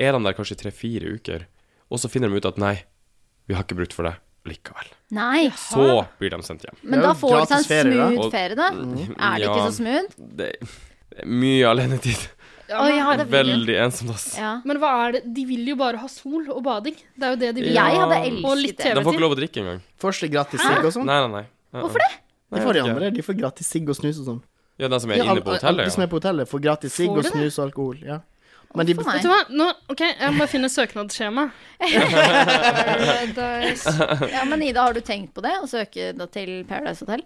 Speaker 5: er de der kanskje i tre-fire uker, og så finner de ut at nei, vi har ikke bruk for det likevel.
Speaker 1: Nei.
Speaker 5: Så blir de sendt hjem.
Speaker 2: Det
Speaker 1: Men
Speaker 2: er
Speaker 1: da
Speaker 2: jo
Speaker 1: får de seg en
Speaker 2: gratis ferie, da.
Speaker 1: smooth ferie, da. Er det ikke
Speaker 5: Ja.
Speaker 1: så smooth?
Speaker 5: Det det er mye alenetid.
Speaker 1: Å ja, det blir det.
Speaker 5: Veldig ensomt, ass.
Speaker 1: Ja.
Speaker 3: Men hva er det? De vil jo bare ha sol og bading. Det er jo det de vil.
Speaker 5: Ja.
Speaker 1: Jeg hadde
Speaker 3: Og litt
Speaker 1: elsket det.
Speaker 3: TV.
Speaker 5: De får ikke lov å drikke engang.
Speaker 2: Først er gratis sigg og sånn.
Speaker 5: Nei, nei, nei. Nei,
Speaker 1: Hvorfor
Speaker 5: nei.
Speaker 1: det?
Speaker 5: Nei,
Speaker 2: De
Speaker 5: jeg
Speaker 2: får de
Speaker 5: vet ikke.
Speaker 2: andre. De får gratis sigg og snus og sånn.
Speaker 5: Ja, de som er
Speaker 2: Ja,
Speaker 5: inne
Speaker 2: alle-
Speaker 5: på
Speaker 2: alle
Speaker 5: hotellet,
Speaker 2: som
Speaker 5: ja.
Speaker 2: er på hotellet, får gratis sigg
Speaker 3: Får
Speaker 2: og
Speaker 3: de det?
Speaker 2: snus og alkohol. Ja. Men de,
Speaker 1: for
Speaker 3: Vet
Speaker 1: meg.
Speaker 3: du hva? Nå, ok, Jeg må finne søknadsskjema. Paradise.
Speaker 1: Ja, men Ida, har du tenkt på det? Å søke da til Paradise Hotel?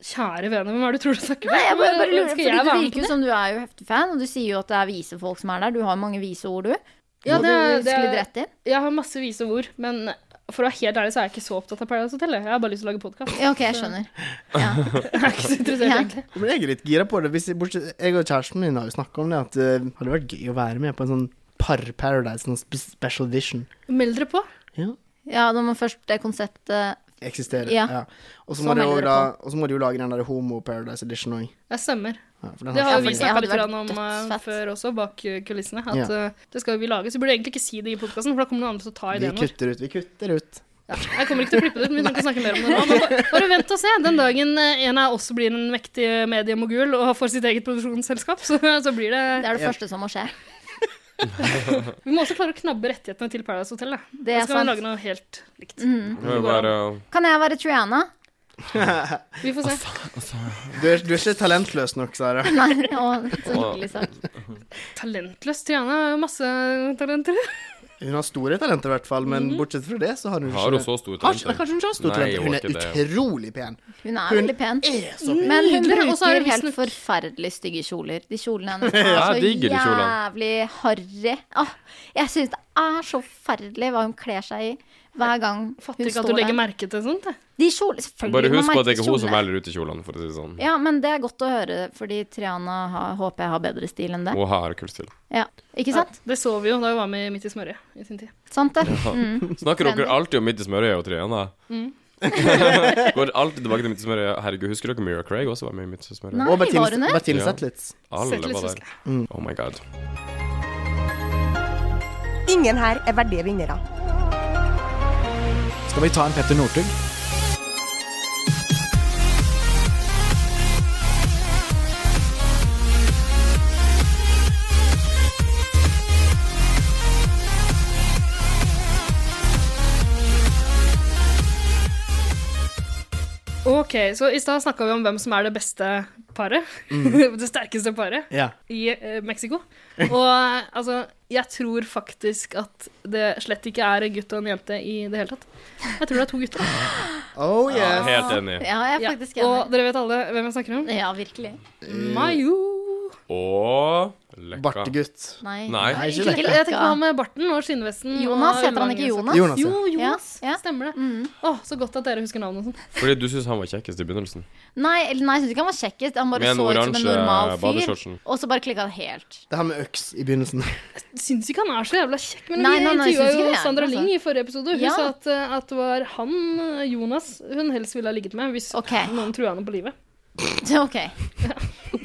Speaker 3: Kjære vene, hvem er det du tror du snakker
Speaker 1: Nei, jeg bare, bare lurer,
Speaker 3: Skal
Speaker 1: fordi
Speaker 3: jeg
Speaker 1: du
Speaker 3: være med
Speaker 1: virker
Speaker 3: på
Speaker 1: jo
Speaker 3: det?
Speaker 1: som du er jo heftig fan, og du sier jo at det er vise folk som er der. Du har mange vise ord, du.
Speaker 3: Ja,
Speaker 1: Må
Speaker 3: det er-
Speaker 1: du
Speaker 3: det er-
Speaker 1: sklidd rett inn.
Speaker 3: Jeg har masse vise ord, men for å være helt ærlig så er jeg ikke så opptatt av Paradise Hotel. jeg. Jeg har bare lyst til å lage podkast.
Speaker 1: Ja, OK, jeg skjønner.
Speaker 3: Jeg er ikke så interessert,
Speaker 1: Ja.
Speaker 3: egentlig.
Speaker 2: men jeg er litt gira på det. Hvis jeg, bortsett, jeg og kjæresten min har jo snakka om det, at eh, det hadde vært gøy å være med på en sånn par Paradise, sånn spe- special edition.
Speaker 3: Meld dere på.
Speaker 1: Ja, da må først det konseptet
Speaker 2: Eksisterer.
Speaker 1: Ja. Sånn
Speaker 2: Ja. Og så
Speaker 1: Så
Speaker 2: må de
Speaker 1: melder
Speaker 2: jo
Speaker 1: dere
Speaker 2: da Og så må de jo lage den der homo Paradise edition òg.
Speaker 3: Jeg stemmer.
Speaker 2: Ja, for den
Speaker 3: Det
Speaker 2: har
Speaker 1: Ja,
Speaker 3: har jo vi
Speaker 1: for det
Speaker 3: snakka
Speaker 1: hadde
Speaker 3: litt
Speaker 1: vært
Speaker 3: grann om eh,
Speaker 1: dødsfett.
Speaker 3: før også, bak eh, kulissene. At
Speaker 2: Ja.
Speaker 3: eh, det skal jo vi lage. Så vi burde egentlig ikke si det i podkasten, for da kommer noen andre til å ta
Speaker 2: vi
Speaker 3: ideen vår.
Speaker 2: kutter ut. Vi kutter ut.
Speaker 3: Ja. Jeg kommer ikke til å klippe det ut, men vi kan ikke snakke mer om det nå. Men bare, bare vent og se. Den dagen eh, en av oss blir en mektig mediemogul og får sitt eget produksjonsselskap, så, så blir
Speaker 1: Det
Speaker 3: det
Speaker 1: er det
Speaker 2: Ja.
Speaker 1: første som må skje.
Speaker 3: Vi må også klare å knabbe rettighetene til Paradise Hotel, da.
Speaker 1: Det
Speaker 3: Da
Speaker 1: er
Speaker 3: skal vi
Speaker 1: sant. Mm.
Speaker 3: lage noe helt likt.
Speaker 5: Det var jo bare å-
Speaker 1: Kan jeg være Triana?
Speaker 3: Vi får se.
Speaker 2: Du er, du er ikke talentløs nok, Sara.
Speaker 1: Nei, å, så hyggelig sagt.
Speaker 3: Talentløs Triana har jo masse talenter.
Speaker 2: Hun har store talenter, i hvert fall,
Speaker 1: Mhm.
Speaker 2: men bortsett fra det, så har hun
Speaker 5: Har hun
Speaker 2: ikke
Speaker 5: så store
Speaker 2: Kanskje, nei,
Speaker 5: talenter?
Speaker 2: kanskje hun ikke har store
Speaker 5: Nei,
Speaker 2: talenter. Hun
Speaker 5: hun
Speaker 2: er
Speaker 5: har ikke det. altså.
Speaker 2: utrolig pen.
Speaker 1: Hun er
Speaker 2: Hun
Speaker 1: veldig pen.
Speaker 2: Er så
Speaker 3: Mm.
Speaker 2: pen.
Speaker 1: Men hun
Speaker 3: Nydelig, og så er
Speaker 1: bruker
Speaker 3: det
Speaker 1: helt
Speaker 3: visstnok-
Speaker 1: forferdelig stygge kjoler. De kjolene hennes er
Speaker 5: Ja, jeg
Speaker 1: så
Speaker 5: digger de kjolene.
Speaker 1: jævlig harry. Åh, jeg syns det er så forferdelig hva hun kler seg i hver gang
Speaker 3: Fatter
Speaker 1: hun
Speaker 3: ikke at du
Speaker 1: står
Speaker 3: legger
Speaker 1: der.
Speaker 3: merke til sånt. jeg.
Speaker 1: De kjoler, selvfølgelig.
Speaker 5: Bare
Speaker 1: man
Speaker 5: husk på at det
Speaker 1: merker
Speaker 5: ikke er hun som
Speaker 1: kjolene.
Speaker 5: velger ut i kjolene, for å si det sånn.
Speaker 1: Ja, men det er godt å høre, fordi Triana har, håper jeg har bedre stil enn det.
Speaker 5: Hun har kulstil.
Speaker 1: Ja, Ikke sant?
Speaker 3: Det så vi jo da vi var med Midt i smørøyet i sin tid.
Speaker 1: Sant det? Mm.
Speaker 5: Snakker dere
Speaker 1: Trendy.
Speaker 5: alltid om Midt i smørøyet og Triana? Går alltid tilbake til Midt i smørøyet. Herregud, husker dere Mira Craig også var med i Midt i smørøyet?
Speaker 1: Nei,
Speaker 2: Og
Speaker 1: var hun
Speaker 2: Bertine,
Speaker 1: det?
Speaker 2: Bertine
Speaker 5: Ja.
Speaker 2: Zetlitz.
Speaker 5: Alle
Speaker 3: Sett litt
Speaker 5: var
Speaker 3: husker
Speaker 5: der. Oh my god.
Speaker 8: Ingen her er verdige vinnere.
Speaker 9: Skal vi ta en Petter Northug?
Speaker 3: Ok, så I stad snakka vi om hvem som er det beste paret. det sterkeste paret
Speaker 2: Ja.
Speaker 3: i eh, Mexico. Og eh, altså, jeg tror faktisk at det slett ikke er en gutt og en jente i det hele tatt. Jeg tror det er to gutter.
Speaker 2: Oh
Speaker 5: Ja,
Speaker 2: yes.
Speaker 5: Helt enig.
Speaker 1: Ja, jeg er Mm.
Speaker 3: Ja,
Speaker 1: faktisk
Speaker 3: Og
Speaker 1: enig.
Speaker 3: dere vet alle hvem jeg snakker om?
Speaker 1: Ja, virkelig.
Speaker 3: Mayo.
Speaker 5: Og Lekka.
Speaker 2: Bartegutt.
Speaker 1: Nei.
Speaker 5: Nei.
Speaker 2: Nei, ikke
Speaker 1: Ikke
Speaker 2: det.
Speaker 3: Jeg tenker på han med barten og skinnvesten.
Speaker 1: Jonas,
Speaker 3: og
Speaker 1: heter han ikke
Speaker 3: lange sokker.
Speaker 2: Jonas,
Speaker 1: Jonas?
Speaker 2: ja.
Speaker 3: Jo, Jonas.
Speaker 1: Ja, Mm. ja.
Speaker 3: Stemmer det. Å, så godt at dere husker navnet og sånn.
Speaker 5: Fordi du syns han var kjekkest i begynnelsen.
Speaker 1: Nei, eller nei, jeg syns ikke han var kjekkest. Han bare
Speaker 5: Med en
Speaker 1: så ut som en
Speaker 5: oransje
Speaker 1: normal fyr.
Speaker 5: badeshortsen.
Speaker 1: Og så bare klikka det helt.
Speaker 2: Det her med øks i begynnelsen.
Speaker 3: Syns ikke han er så jævla kjekk, men
Speaker 1: Nei, nei, nei,
Speaker 3: vi intervjua
Speaker 1: syns ikke
Speaker 3: jo
Speaker 1: det,
Speaker 3: Sandra
Speaker 1: altså.
Speaker 3: Ling i forrige episode. Hun
Speaker 1: Ja.
Speaker 3: sa at, eh, at det var han, eh, Jonas, hun helst ville ha ligget med hvis
Speaker 1: Ok.
Speaker 3: noen trua henne på livet.
Speaker 1: Ok.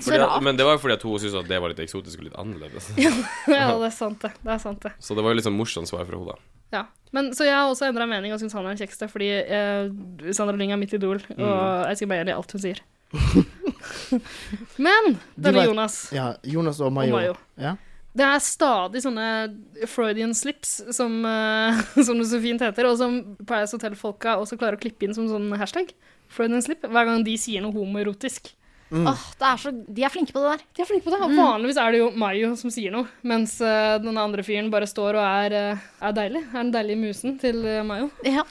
Speaker 1: Så
Speaker 5: Fordi at,
Speaker 1: rart.
Speaker 5: men det var jo fordi at hun syntes at det var litt eksotisk og litt annerledes.
Speaker 3: Ja, det er sant, det. det, er sant, det.
Speaker 5: Så det var jo litt sånn morsomt svar fra henne, da.
Speaker 3: Ja. Men, så jeg har også endra mening og syns han er den kjekkeste, fordi eh, Sandra Lyng er mitt idol, og
Speaker 2: Mm.
Speaker 3: jeg skal bare gjøre alt hun sier. men
Speaker 2: Du
Speaker 3: denne
Speaker 2: vet-
Speaker 3: Jonas
Speaker 2: Ja, Jonas og Mayo.
Speaker 3: Og Mayo.
Speaker 2: Ja.
Speaker 3: Det er stadig sånne Freudian slips, som, eh, som det så fint heter, og som Paradise Hotel-folka også klarer å klippe inn som sånn hashtag. Freudian slip, hver gang de sier noe homoerotisk.
Speaker 1: Åh, det er så, de er flinke på det der.
Speaker 3: De er flinke på det.
Speaker 2: Mm.
Speaker 3: Vanligvis er det jo Mayo som sier noe, mens eh, den andre fyren bare står og er, eh, er deilig. Er den deilige musen til eh, Mayo.
Speaker 1: Ja,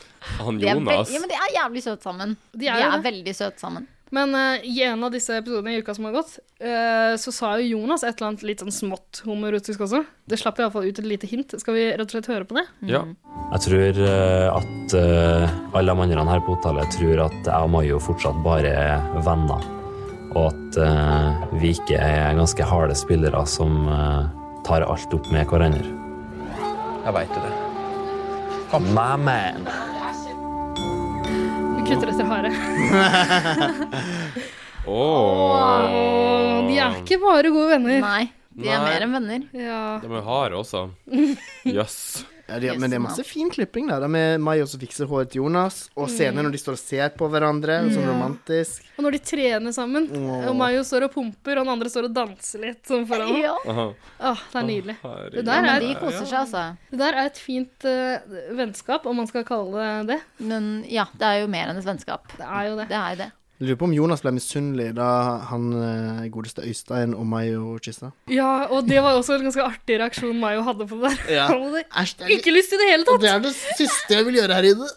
Speaker 5: Han
Speaker 1: de er,
Speaker 5: Jonas.
Speaker 1: veld- ja, men de er jævlig søte sammen.
Speaker 3: De er
Speaker 1: de
Speaker 3: jo
Speaker 1: er
Speaker 3: det.
Speaker 1: veldig søte sammen.
Speaker 3: Men eh, i en av disse episodene i uka som har gått, eh, så sa jo Jonas et eller annet litt sånn smått homoerotisk også. Det slapp iallfall ut et lite hint. Skal vi rett og slett høre på det?
Speaker 5: Ja.
Speaker 9: Jeg tror eh, at eh, alle de andre her på hotellet tror at jeg og Mayo fortsatt bare er venner. Og at eh, vi ikke er ganske harde spillere som eh, tar alt opp med hverandre. Jeg veit jo det. My man.
Speaker 3: Vi kutter etter hare.
Speaker 5: Åh.
Speaker 3: Og de er ikke bare gode venner.
Speaker 1: Nei, de er
Speaker 5: Nei.
Speaker 1: mer enn venner.
Speaker 3: Ja.
Speaker 5: De er harde også. Jøss.
Speaker 2: Ja, de, men det er masse fin klipping der. da, Med Mayo som fikser håret til Jonas, og scener
Speaker 3: Mm.
Speaker 2: når de står og ser på hverandre. Sånn romantisk.
Speaker 3: Og når de trener sammen,
Speaker 2: Åh.
Speaker 3: og Mayo står og pumper, og den andre står og danser litt sånn foran ham.
Speaker 1: Ja,
Speaker 5: Aha.
Speaker 3: Åh, det er nydelig.
Speaker 5: Herregud.
Speaker 3: Det
Speaker 1: Ja,
Speaker 3: der
Speaker 1: men
Speaker 3: er,
Speaker 1: de koser seg, altså.
Speaker 3: det der er et fint eh, vennskap, om man skal kalle det det.
Speaker 1: Men ja, det er jo mer enn et vennskap.
Speaker 3: Det er jo det.
Speaker 1: Det er jo det.
Speaker 2: Lurer på om Jonas ble misunnelig da han eh, godeste Øystein og Mayo kyssa.
Speaker 3: Ja, og det var også en ganske artig reaksjon Mayo hadde på det der.
Speaker 2: Ja.
Speaker 3: Han hadde
Speaker 2: Æsj, det er
Speaker 3: Ikke lyst i det hele
Speaker 2: Og
Speaker 3: tatt!
Speaker 2: det er det siste jeg vil gjøre her inne.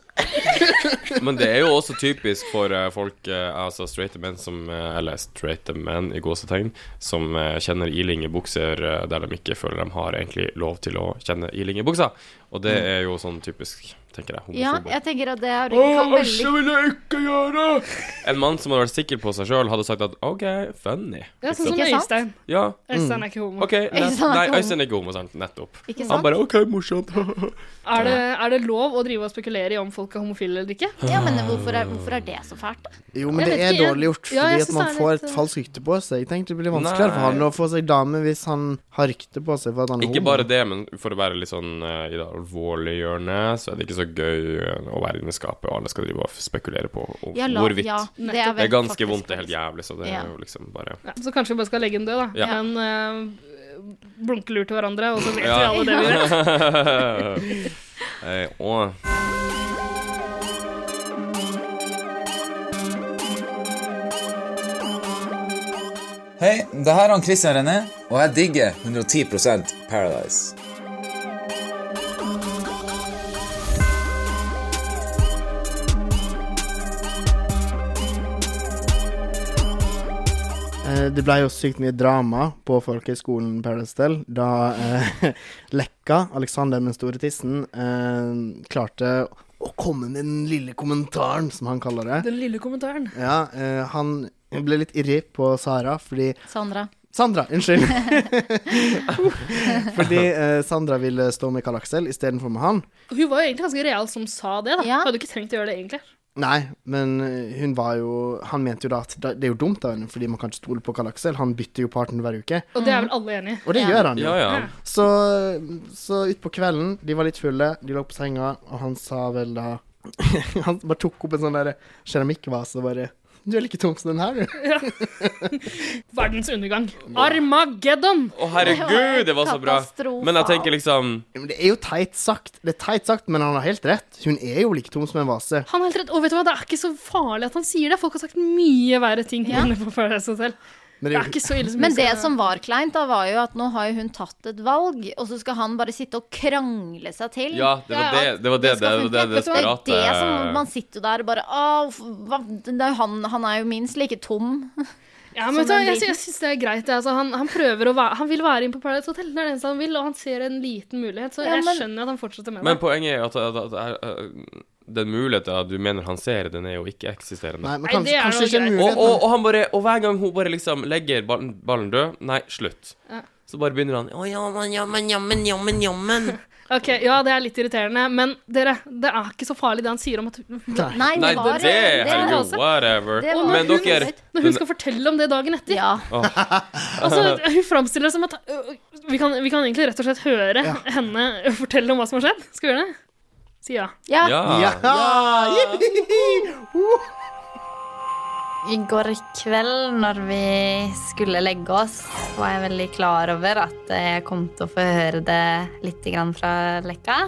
Speaker 5: Men det er jo også typisk for eh, folk, eh, altså straighte menn som eh, Eller straighte menn i gåsetegn, som eh, kjenner iling i bukser eh, der de ikke føler de har egentlig lov til å kjenne iling i buksa. Og det er jo sånn typisk, tenker jeg,
Speaker 1: Mm. Ja,
Speaker 5: homofobe.
Speaker 1: jeg tenker at det er kan veldig
Speaker 5: vil jeg ikke gjøre! En mann som hadde vært sikker på seg sjøl, hadde sagt at OK, funny.
Speaker 3: Ja, sånn som
Speaker 1: Ikke sant?
Speaker 3: Øystein.
Speaker 5: Ja,
Speaker 3: Øystein er ikke homo.
Speaker 5: OK. Nett,
Speaker 1: sant,
Speaker 5: nei,
Speaker 1: homo.
Speaker 5: Øystein er ikke homo, sant? Nettopp.
Speaker 1: Ikke
Speaker 5: Han
Speaker 1: sant?
Speaker 5: bare OK, morsomt.
Speaker 3: Er, det, er det lov å drive og spekulere i om folk er homofile eller ikke?
Speaker 1: Ja, men hvorfor er, hvorfor er det så fælt, da?
Speaker 2: Jo, men
Speaker 3: Jeg
Speaker 2: det
Speaker 3: vet
Speaker 2: er
Speaker 3: ikke, jeg-
Speaker 2: dårlig gjort,
Speaker 3: Ja, jeg
Speaker 2: fordi at
Speaker 3: synes
Speaker 2: man
Speaker 3: det er
Speaker 2: får
Speaker 3: litt,
Speaker 2: et
Speaker 3: eh,
Speaker 2: falskt rykte på seg. Jeg tenkte det blir vanskeligere for
Speaker 5: Nei.
Speaker 2: han å få seg dame hvis han har rykte på seg for at han er
Speaker 5: Ikke bare det, men for å være litt sånn eh, i det alvorlige hjørnet, så er det ikke så gøy eh, å være inne i skapet, og alle skal drive og spekulere på om,
Speaker 1: Ja, la-
Speaker 5: hvorvidt.
Speaker 1: Ja, det, er
Speaker 5: det er
Speaker 1: vel
Speaker 5: ganske
Speaker 1: faktisk-
Speaker 5: vondt, det er helt jævlig, så det
Speaker 1: Ja.
Speaker 5: er jo liksom bare
Speaker 3: Ja, så kanskje vi bare skal legge den død, da.
Speaker 5: Ja.
Speaker 3: En eh, blunkelur til hverandre, og så vet vi
Speaker 5: Ja.
Speaker 3: alle det vi gjør.
Speaker 5: Eh, og-
Speaker 10: Hei, det her er han Christian René, og jeg digger 110 Paradise.
Speaker 2: Eh, Det ble jo sykt mye drama på folkehøgskolen Paradise Hotel da eh, Lekka, Alexander med den store tissen, eh, klarte å komme med den lille kommentaren, som han kaller det.
Speaker 3: Den lille kommentaren.
Speaker 2: Ja, eh, han ble litt irri på Sara fordi
Speaker 1: Sandra.
Speaker 2: Sandra, unnskyld. fordi eh, Sandra ville stå med Karl Aksel istedenfor med han.
Speaker 3: Hun var jo egentlig ganske real som sa det, da.
Speaker 1: Ja.
Speaker 3: Hadde ikke trengt å gjøre det, egentlig.
Speaker 2: Nei, men eh, hun var jo Han mente jo da at da- det er jo dumt av henne, fordi man kan ikke stole på Karl Aksel. Han bytter jo partner hver uke.
Speaker 3: Og det er vel alle enig i.
Speaker 2: Og det gjør han jo.
Speaker 5: Ja, ja.
Speaker 2: Så, så utpå kvelden, de var litt fulle, de lå på senga, og han sa vel da Han bare tok opp en sånn der keramikkvase og bare Du er like tung som den her, du.
Speaker 3: Verdens undergang. Armageddon!
Speaker 5: Å, herregud, det var så bra.
Speaker 1: Katastrofe.
Speaker 5: Men jeg tenker liksom
Speaker 2: Ja, Men det er jo teit sagt. Det er teit sagt, men han har helt rett. Hun er jo like tung som en vase.
Speaker 3: Han har helt rett. Og vet du hva, det er ikke så farlig at han sier det. Folk har sagt mye verre ting
Speaker 1: Ja.
Speaker 3: inne på Paradise Hotel.
Speaker 2: Men
Speaker 3: Det
Speaker 2: det
Speaker 3: er
Speaker 2: er jo
Speaker 3: ikke så ille som
Speaker 1: Men
Speaker 3: vi skal-
Speaker 1: det som var kleint, da, var jo at nå har jo hun tatt et valg, og så skal han bare sitte og krangle seg til.
Speaker 5: Ja, det var det det var det, det,
Speaker 1: skal
Speaker 5: det,
Speaker 1: funke.
Speaker 5: det
Speaker 1: Vet du hva,
Speaker 5: desperate eh.
Speaker 1: Det er det som Man sitter jo der og bare Å, hva, det er jo han, han er jo minst like tom.
Speaker 3: Ja, men vet du,
Speaker 1: Som
Speaker 3: hva,
Speaker 1: en
Speaker 3: jeg, sy-
Speaker 1: liten-
Speaker 3: jeg syns det er greit. det. Altså, han, han prøver å være Han vil være inne på Paradise Hotel, det er det eneste han vil, og han ser en liten mulighet, så
Speaker 1: Ja, men-
Speaker 3: jeg skjønner at han fortsetter med
Speaker 5: Men
Speaker 3: det.
Speaker 5: poenget er jo at, at, at, at, at den muligheten du mener han ser, den er jo ikke-eksisterende.
Speaker 2: Nei, men
Speaker 3: Nei,
Speaker 2: kanskje,
Speaker 3: det er
Speaker 2: kanskje
Speaker 3: noe
Speaker 2: ikke en
Speaker 3: greit.
Speaker 5: Og,
Speaker 2: mulighet.
Speaker 5: og, og, han bare, og hver gang hun bare liksom legger ballen, ballen død Nei, slutt.
Speaker 3: Ja.
Speaker 5: Så bare begynner han Å, jammen, jammen, jammen, jammen, jammen.
Speaker 3: Ok, Ja, det er litt irriterende, men dere, det er ikke så farlig det han sier om at
Speaker 5: Nei, det, det, Helge, whatever.
Speaker 3: Og når
Speaker 5: Men
Speaker 3: hun,
Speaker 5: dere
Speaker 3: når hun skal fortelle om det dagen etter altså, Hun framstiller det som at øh, vi kan, vi kan egentlig rett og slett høre henne fortelle om hva som har skjedd. Skal vi gjøre det? Si ja.
Speaker 5: Ja.
Speaker 2: Ja.
Speaker 11: I går kveld når vi skulle legge oss, var jeg veldig klar over at jeg kom til å få høre det litt grann fra Lekka.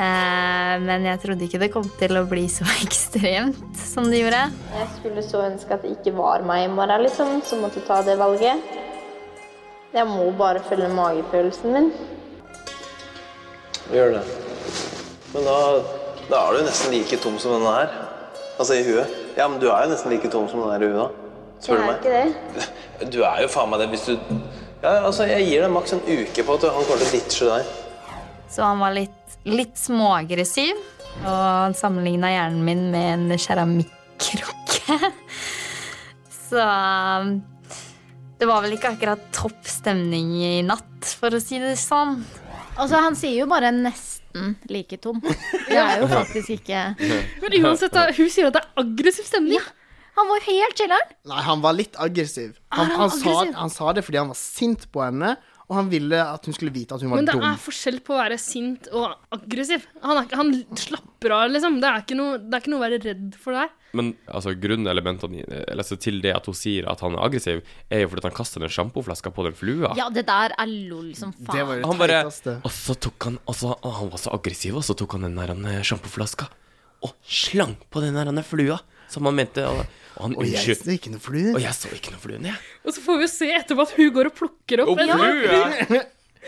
Speaker 11: Eh, Men jeg trodde ikke det kom til å bli så ekstremt som det gjorde. Jeg skulle så ønske at det ikke var meg i morgen, liksom, som måtte ta det valget. Jeg må bare følge magefølelsen min.
Speaker 12: Gjør det. Men da, da er du jo nesten like tom som denne her. Altså i huet. Ja, men du er jo nesten like tom som den her i huet. Spør du meg?
Speaker 11: ikke det.
Speaker 12: Du er jo faen meg det hvis du Ja, altså, jeg gir deg maks en uke på at han kommer til å ditche deg.
Speaker 11: Så han var litt, litt småaggressiv. Og han sammenligna hjernen min med en keramikkrukke. Så um, det var vel ikke akkurat topp stemning i natt, for å si det sånn.
Speaker 1: Altså, han sier jo bare 'nesten like tom'. Det er jo faktisk ikke
Speaker 3: Men uansett, da, hun sier at det er aggressiv stemning.
Speaker 1: Han var jo helt chiller'n.
Speaker 2: Nei, han var litt aggressiv.
Speaker 3: Er
Speaker 2: Han,
Speaker 3: han
Speaker 2: han, sa,
Speaker 3: Ah, aggressiv?
Speaker 2: han sa det fordi han var sint på henne, og han ville at hun skulle vite at hun var
Speaker 3: Men det
Speaker 2: dum.
Speaker 3: er forskjell på å være sint og aggressiv. Han, er, ikke- han slapper av, liksom. Det er, ikke noe, det er ikke noe å være redd for der.
Speaker 5: Men altså, grunnelementene i- eller, altså, til det at hun sier at han er aggressiv, er jo fordi at han kaster den sjampoflaska på den flua.
Speaker 1: Ja, det der er lol som faen.
Speaker 5: han bare, og så tok han og så, å, Han var så aggressiv, og så tok han den der eh, sjampoflaska og slang på den der eh, flua som han mente. Og, og han
Speaker 2: Og jeg
Speaker 5: unnskyld-
Speaker 2: så ikke noe flue.
Speaker 5: Og jeg så ikke noe fluen, jeg.
Speaker 3: Og så får vi jo se etterpå at hun går og plukker opp
Speaker 5: Opp flue.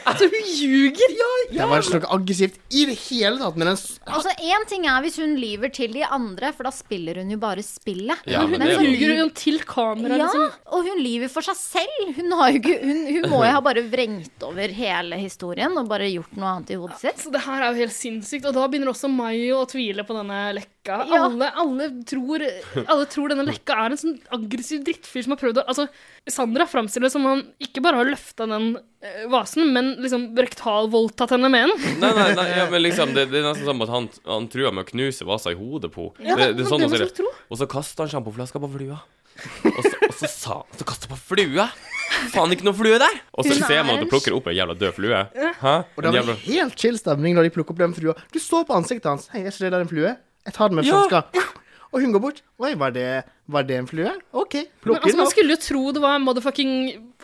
Speaker 3: Altså, hun ljuger!
Speaker 2: Det var ikke noe aggressivt i det hele tatt. Men den s-
Speaker 1: Altså, Én ting er hvis hun lyver til de andre, for da spiller hun jo bare spillet.
Speaker 2: Ja, men
Speaker 3: det-
Speaker 1: så
Speaker 3: Ljuger
Speaker 1: lyver-
Speaker 3: hun til kamera,
Speaker 1: ja,
Speaker 3: liksom?
Speaker 1: og hun lyver for seg selv. Hun, har jo ikke, hun, hun må jo ha bare vrengt over hele historien og bare gjort noe annet i hodet sitt.
Speaker 3: Så det her er jo helt sinnssykt, og da begynner også Mayo å tvile på denne lekka.
Speaker 1: Ja.
Speaker 3: Alle, alle, tror, alle tror denne lekka er en sånn aggressiv drittfyr som har prøvd å Altså, Sandra framstiller det som om han ikke bare har løfta den eh, vasen, men liksom rektalvoldtatt henne med den.
Speaker 5: Nei, nei, nei ja, men liksom, det, det er nesten som at han, han truer med å knuse vasa i hodet på henne.
Speaker 3: Ja,
Speaker 5: det,
Speaker 3: men
Speaker 5: det er sånn
Speaker 3: det
Speaker 5: hun
Speaker 3: må
Speaker 5: sier det. Og så kaster han sjampoflaska på flua. Og så, og så sa han Så kastet han på flua! Faen, ikke noe flue der! Og så
Speaker 2: Hun
Speaker 5: ser
Speaker 2: er
Speaker 5: man at
Speaker 2: en
Speaker 5: hun plukker opp ei jævla død flue.
Speaker 2: Ja.
Speaker 5: Hæ?
Speaker 2: Og det
Speaker 5: En
Speaker 2: var
Speaker 5: jævla
Speaker 2: helt chill stemning da de plukket opp den flua. Du så på ansiktet hans. Hei, er ikke det der en flue? Jeg tar den med
Speaker 3: Ja.
Speaker 2: flaska. Og hun går bort. Oi, var det, var det en flue? OK,
Speaker 3: Men
Speaker 2: plukk
Speaker 3: altså,
Speaker 2: den
Speaker 3: Man
Speaker 2: opp.
Speaker 3: skulle jo tro det var motherfucking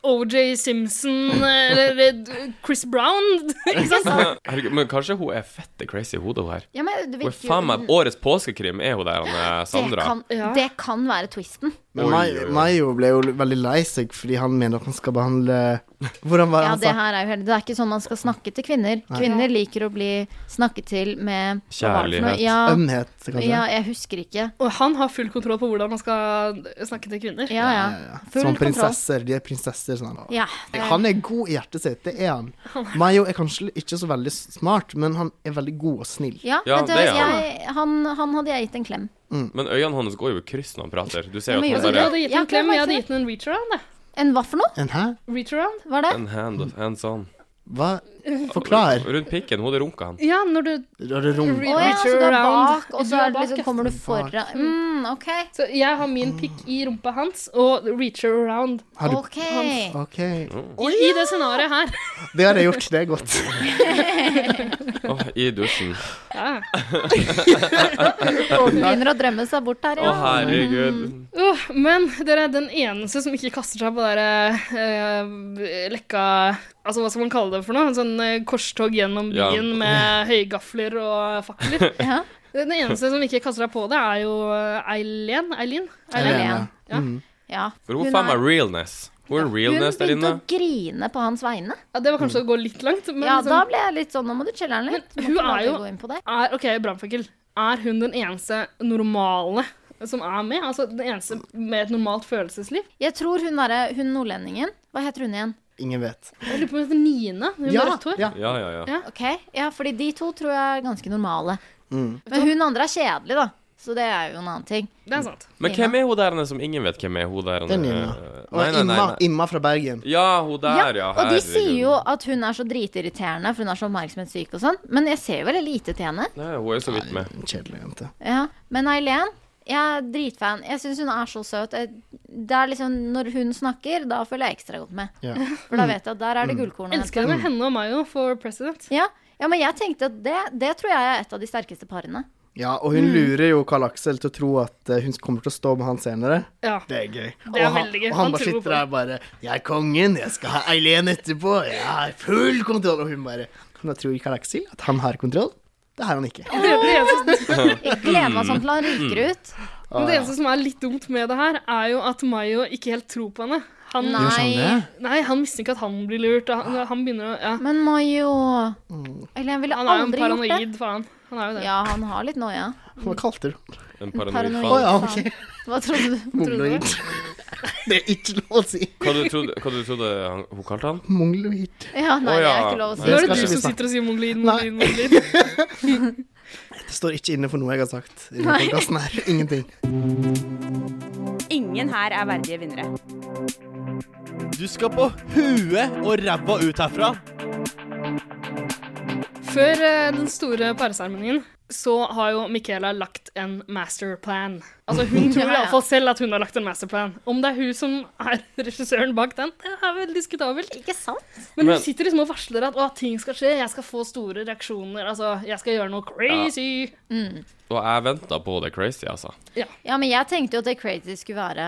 Speaker 3: OJ Simpson eller eh, Chris Brown. Ikke sant?
Speaker 5: Herregud, men kanskje hun er fette crazy i hodet, hun her.
Speaker 1: Ja, men det
Speaker 5: Hun er
Speaker 1: virker jo-
Speaker 5: faen meg Årets påskekrim er hun der, han, eh,
Speaker 1: Det
Speaker 5: Sandra.
Speaker 1: kan, det kan være twisten.
Speaker 2: Men Mai- Mayo ble jo veldig lei seg fordi han mener at han skal behandle Hvordan var det
Speaker 1: Ja,
Speaker 2: han
Speaker 1: det
Speaker 2: sa?
Speaker 1: her er jo helt Det er ikke sånn man skal snakke til kvinner.
Speaker 2: Nei.
Speaker 1: Kvinner liker å bli snakket til med hva var det for noe?
Speaker 2: Kjærlighet.
Speaker 1: Ja,
Speaker 2: Ømhet, kanskje?
Speaker 1: Ja, jeg husker ikke.
Speaker 3: Og han har full kontroll på hvordan man skal snakke til kvinner.
Speaker 1: Ja, ja. Full
Speaker 2: Som
Speaker 1: kontroll.
Speaker 2: prinsesser. De er prinsesser. Sånn.
Speaker 1: Ja.
Speaker 2: Han er god i hjertet sitt, det er han. Mayo er kanskje ikke så veldig smart, men han er veldig god og snill.
Speaker 1: Ja,
Speaker 5: Ja,
Speaker 1: vet du,
Speaker 5: det er han.
Speaker 1: jeg, han, han hadde jeg gitt en klem.
Speaker 5: Men øynene hans går jo i kryss når han prater. Du ser
Speaker 1: Ja,
Speaker 5: jo
Speaker 1: men gjør
Speaker 5: at
Speaker 1: det.
Speaker 3: Jeg
Speaker 5: han bare
Speaker 3: hadde gitt
Speaker 1: Ja,
Speaker 3: en klem, jeg
Speaker 1: klart
Speaker 3: hadde
Speaker 1: det.
Speaker 3: gitt den en reach around. jeg.
Speaker 1: En hva for noe?
Speaker 2: En hæ?
Speaker 3: Reach around?
Speaker 1: Hva er det?
Speaker 5: En hand, hands on.
Speaker 2: Hva? Forklar.
Speaker 5: Rundt pikken. Hodet runka han.
Speaker 3: Ja, når du
Speaker 2: Da er det rom.
Speaker 1: Å ja, så du er bak, og så
Speaker 3: Du er
Speaker 1: er det liksom,
Speaker 3: bak, ja.
Speaker 1: kommer du foran mm, OK.
Speaker 3: Så jeg har min
Speaker 1: Ah.
Speaker 3: pikk i rumpa hans og reach around.
Speaker 2: Har du-
Speaker 1: Ok.
Speaker 2: OK.
Speaker 3: I, I det scenarioet her.
Speaker 2: Det har jeg gjort, det er godt.
Speaker 5: Åh, I dusjen.
Speaker 3: Ja.
Speaker 1: Og hun begynner å drømme seg bort her,
Speaker 5: Å, herregud.
Speaker 3: Åh, men dere er den eneste som ikke kaster seg på der eh, lekka Altså, hva skal man kalle det for noe? En sånn eh, korstog gjennom
Speaker 5: Ja.
Speaker 3: byen med høygafler og fakler.
Speaker 1: Ja.
Speaker 3: Den eneste som ikke kaster seg på det, er jo eh, Eileen. Eileen?
Speaker 5: Eileen, ja.
Speaker 3: Ja.
Speaker 1: Mm.
Speaker 5: Mhm.
Speaker 1: Ja.
Speaker 5: For hun
Speaker 1: Hun
Speaker 5: er faen
Speaker 1: er-
Speaker 5: meg realness. Hun er realness der
Speaker 1: begynte
Speaker 5: inne.
Speaker 1: å grine på hans vegne.
Speaker 3: Ja, Det var kanskje
Speaker 1: Mm.
Speaker 3: å gå litt langt. Men
Speaker 1: ja,
Speaker 3: liksom-
Speaker 1: da ble jeg litt sånn Nå må du chille den litt. Må
Speaker 3: Hun
Speaker 1: ikke la
Speaker 3: er
Speaker 1: det
Speaker 3: jo
Speaker 1: gå inn på deg.
Speaker 3: er, OK, brannfakkel. Er hun den eneste normale som er med? Altså den eneste med et normalt følelsesliv?
Speaker 1: Jeg tror hun derre hun nordlendingen Hva heter hun igjen?
Speaker 2: Ingen vet.
Speaker 3: Jeg lurer på om hun heter Nina. Hun
Speaker 2: Ja,
Speaker 3: med rødt hår.
Speaker 2: ja.
Speaker 5: Ja, ja, ja.
Speaker 1: Ok, ja, fordi de to tror jeg er ganske normale.
Speaker 2: Mm.
Speaker 1: Men hun andre er kjedelig, da. Så det er jo en annen ting.
Speaker 3: Det er sant.
Speaker 5: Men hvem er hun der nede som ingen vet hvem er? Hun der
Speaker 2: Det er Nina.
Speaker 5: Eh,
Speaker 2: Og Imma, Imma fra Bergen.
Speaker 5: Ja, hun der, ja.
Speaker 1: Og de
Speaker 5: herregud.
Speaker 1: sier jo at hun er så dritirriterende, for hun er så oppmerksomhetssyk og sånn. Men jeg ser jo veldig lite til henne.
Speaker 5: Nei, Hun er jo så vidt med.
Speaker 2: Kjedelig jente.
Speaker 1: Ja. Men Eileen, jeg er dritfan. Jeg syns hun er så søt. Jeg- Det er liksom, Når hun snakker, da følger jeg ekstra godt med.
Speaker 3: Ja.
Speaker 1: For da vet jeg at der er det gullkorn å
Speaker 3: Elsker
Speaker 1: hente.
Speaker 3: henne. Henne og meg jo, for president.
Speaker 1: Ja. ja, men jeg tenkte at det, det tror jeg er et av de sterkeste parene.
Speaker 2: Ja, og hun
Speaker 1: Mm.
Speaker 2: lurer jo Karl Aksel til å tro at eh, hun kommer til å stå med han senere.
Speaker 3: Ja.
Speaker 2: Det er gøy.
Speaker 3: Det er
Speaker 2: og han,
Speaker 3: veldig gøy.
Speaker 2: og han
Speaker 3: Han
Speaker 2: bare
Speaker 3: tror på
Speaker 2: sitter der og bare 'Jeg er kongen, jeg skal ha Eileen etterpå, jeg har full kontroll', og hun bare Kan du tro Karl Aksel at han har kontroll? Det har han ikke.
Speaker 1: Jeg gleder meg sånn til han ryker ut.
Speaker 2: Ah,
Speaker 3: Men det eneste som er litt dumt med det her, er jo at Mayo ikke helt tror på henne. Han,
Speaker 1: Nei. Gjør han
Speaker 2: eh,
Speaker 1: det?
Speaker 3: Nei, han mistenker at han blir lurt. og
Speaker 2: Ah.
Speaker 3: Han, han begynner å ja.
Speaker 1: Men Mayo Eller jeg ville
Speaker 3: Han er jo en
Speaker 1: aldri gjort det.
Speaker 3: paranoid, faen. Han er jo det.
Speaker 1: Ja, han har litt noia.
Speaker 2: Hva kalte du
Speaker 5: En
Speaker 1: Paranoid.
Speaker 5: paranoid
Speaker 2: Å ja,
Speaker 5: faen.
Speaker 2: ok.
Speaker 1: Hva trodde du?
Speaker 2: Mongoloid. Det er ikke lov å si.
Speaker 5: Hva du trodde hva du trodde han, hun kalte han?
Speaker 2: Mongoloid.
Speaker 1: Ja, nei,
Speaker 5: Å,
Speaker 1: det
Speaker 5: ja.
Speaker 1: er ikke lov å si.
Speaker 3: Nå er det
Speaker 2: skal
Speaker 3: du
Speaker 2: ikke vi
Speaker 3: som
Speaker 2: snakke-
Speaker 3: sitter og sier mongoliden, mongoliden, mongoliden.
Speaker 2: Det står ikke inne for noe jeg har sagt i denne
Speaker 4: Nei.
Speaker 2: podcasten her. Ingenting.
Speaker 4: Ingen her er verdige vinnere.
Speaker 7: Du skal på huet og ræva ut herfra.
Speaker 3: Før eh, den store pareseremonien så har jo Michaela lagt en masterplan. Altså Hun tror
Speaker 1: Ja, ja.
Speaker 3: iallfall selv at hun har lagt en masterplan. Om det er hun som er regissøren bak den, det er vel diskutabelt.
Speaker 1: Ikke sant?
Speaker 3: Men
Speaker 5: Men-
Speaker 3: hun sitter liksom og varsler at å, ting skal skje, jeg skal få store reaksjoner, altså jeg skal gjøre noe crazy.
Speaker 5: Og jeg venta på det crazy, altså.
Speaker 1: Ja, men jeg tenkte jo at det crazy skulle være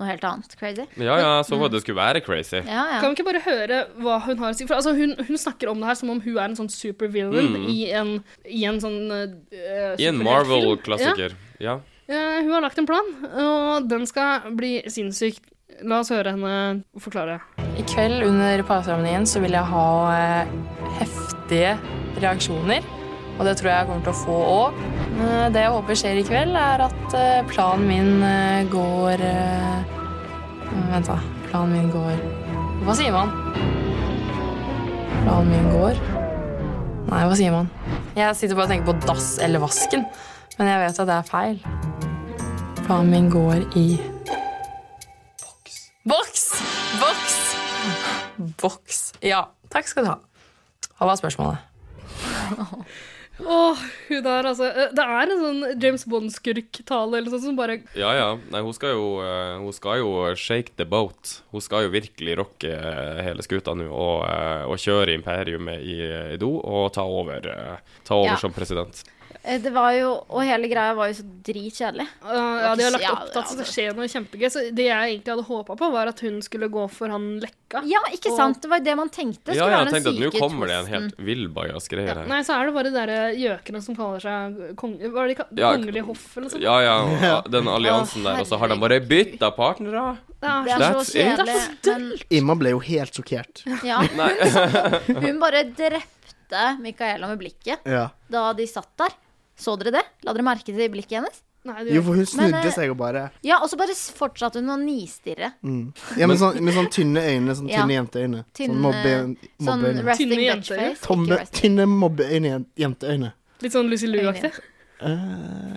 Speaker 1: noe helt annet. Crazy.
Speaker 5: Ja, ja, jeg så for at det skulle være crazy.
Speaker 1: Ja, ja.
Speaker 3: Kan vi ikke bare høre hva hun har å si? For altså, hun, hun snakker om det her som om hun er en sånn supervillain
Speaker 5: Mm.
Speaker 3: i, en, i en sånn eh,
Speaker 5: I
Speaker 3: superheltfilm.
Speaker 5: en Marvel-klassiker. Ja.
Speaker 3: Ja. Eh, hun har lagt en plan, og den skal bli sinnssyk. La oss høre henne forklare.
Speaker 13: I kveld under pareseremonien så vil jeg ha eh, heftige reaksjoner. Og det tror jeg jeg kommer til å få òg. Det jeg håper skjer i kveld, er at eh, planen min eh, går eh, Vent, da. Planen min går Hva sier man? Planen min går Nei, hva sier man? Jeg sitter bare og tenker på dass eller vasken. Men jeg vet at det er feil. Planen min går i Boks! Boks! Boks. Ja. Takk skal du ha. Hva var spørsmålet?
Speaker 3: Åh, hun der, altså. Eh, Det er en sånn James Bond-skurktale eller sånn som bare
Speaker 5: Ja, ja. Nei, hun skal, jo, eh, hun skal jo shake the boat. Hun skal jo virkelig rocke eh, hele skuta nå og, eh, og kjøre imperiumet i, i do og ta over, eh, ta over
Speaker 1: Ja.
Speaker 5: som president.
Speaker 1: Eh, Det var jo, og hele greia var jo så dritkjedelig.
Speaker 3: ja, altså. De har lagt opp til at det skal skje noe kjempegøy. Så det jeg egentlig hadde håpa på, var at hun skulle gå for han Lekka.
Speaker 1: Ja, ikke sant? Det var jo det man tenkte.
Speaker 5: Ja,
Speaker 1: skulle
Speaker 5: ja,
Speaker 1: være
Speaker 5: jeg
Speaker 1: den
Speaker 5: tenkte at nå
Speaker 1: syke
Speaker 5: kommer det en helt
Speaker 1: twisten.
Speaker 5: villbajas greier her.
Speaker 3: Nei, så er det bare de der eh, gjøkene som kaller seg kong... Hva er det de kaller
Speaker 5: Ja,
Speaker 3: Kongelige hoff, eller noe sånt?
Speaker 5: Ja, ja, og den alliansen der, og så har de bare bytta partnere.
Speaker 3: Det
Speaker 1: er så
Speaker 5: That's it.
Speaker 1: kjedelig. Men,
Speaker 2: Imma ble jo helt sjokkert.
Speaker 1: ja,
Speaker 5: Nei.
Speaker 1: hun bare drepte Micaela med blikket
Speaker 2: Ja.
Speaker 1: da de satt der. Så dere det? La dere merke til blikket hennes?
Speaker 2: Jo, for hun
Speaker 1: Men, eh,
Speaker 2: snudde seg og bare
Speaker 1: Ja, og så bare s- fortsatte hun å nistirre.
Speaker 2: mm. Ja, med sånn, med sånn tynne øyne. Sånn
Speaker 1: Ja.
Speaker 2: tynne jenteøyne.
Speaker 1: Tynne-
Speaker 2: sånn mobbe,
Speaker 1: sånn
Speaker 2: mobbeøyne.
Speaker 1: resting Tynne bitch jenteøyne? face, ikke
Speaker 2: Tomme,
Speaker 1: resting.
Speaker 2: tynne mobbeøyne. jen- Jenteøyne.
Speaker 3: Litt sånn Lucy Lou-aktig.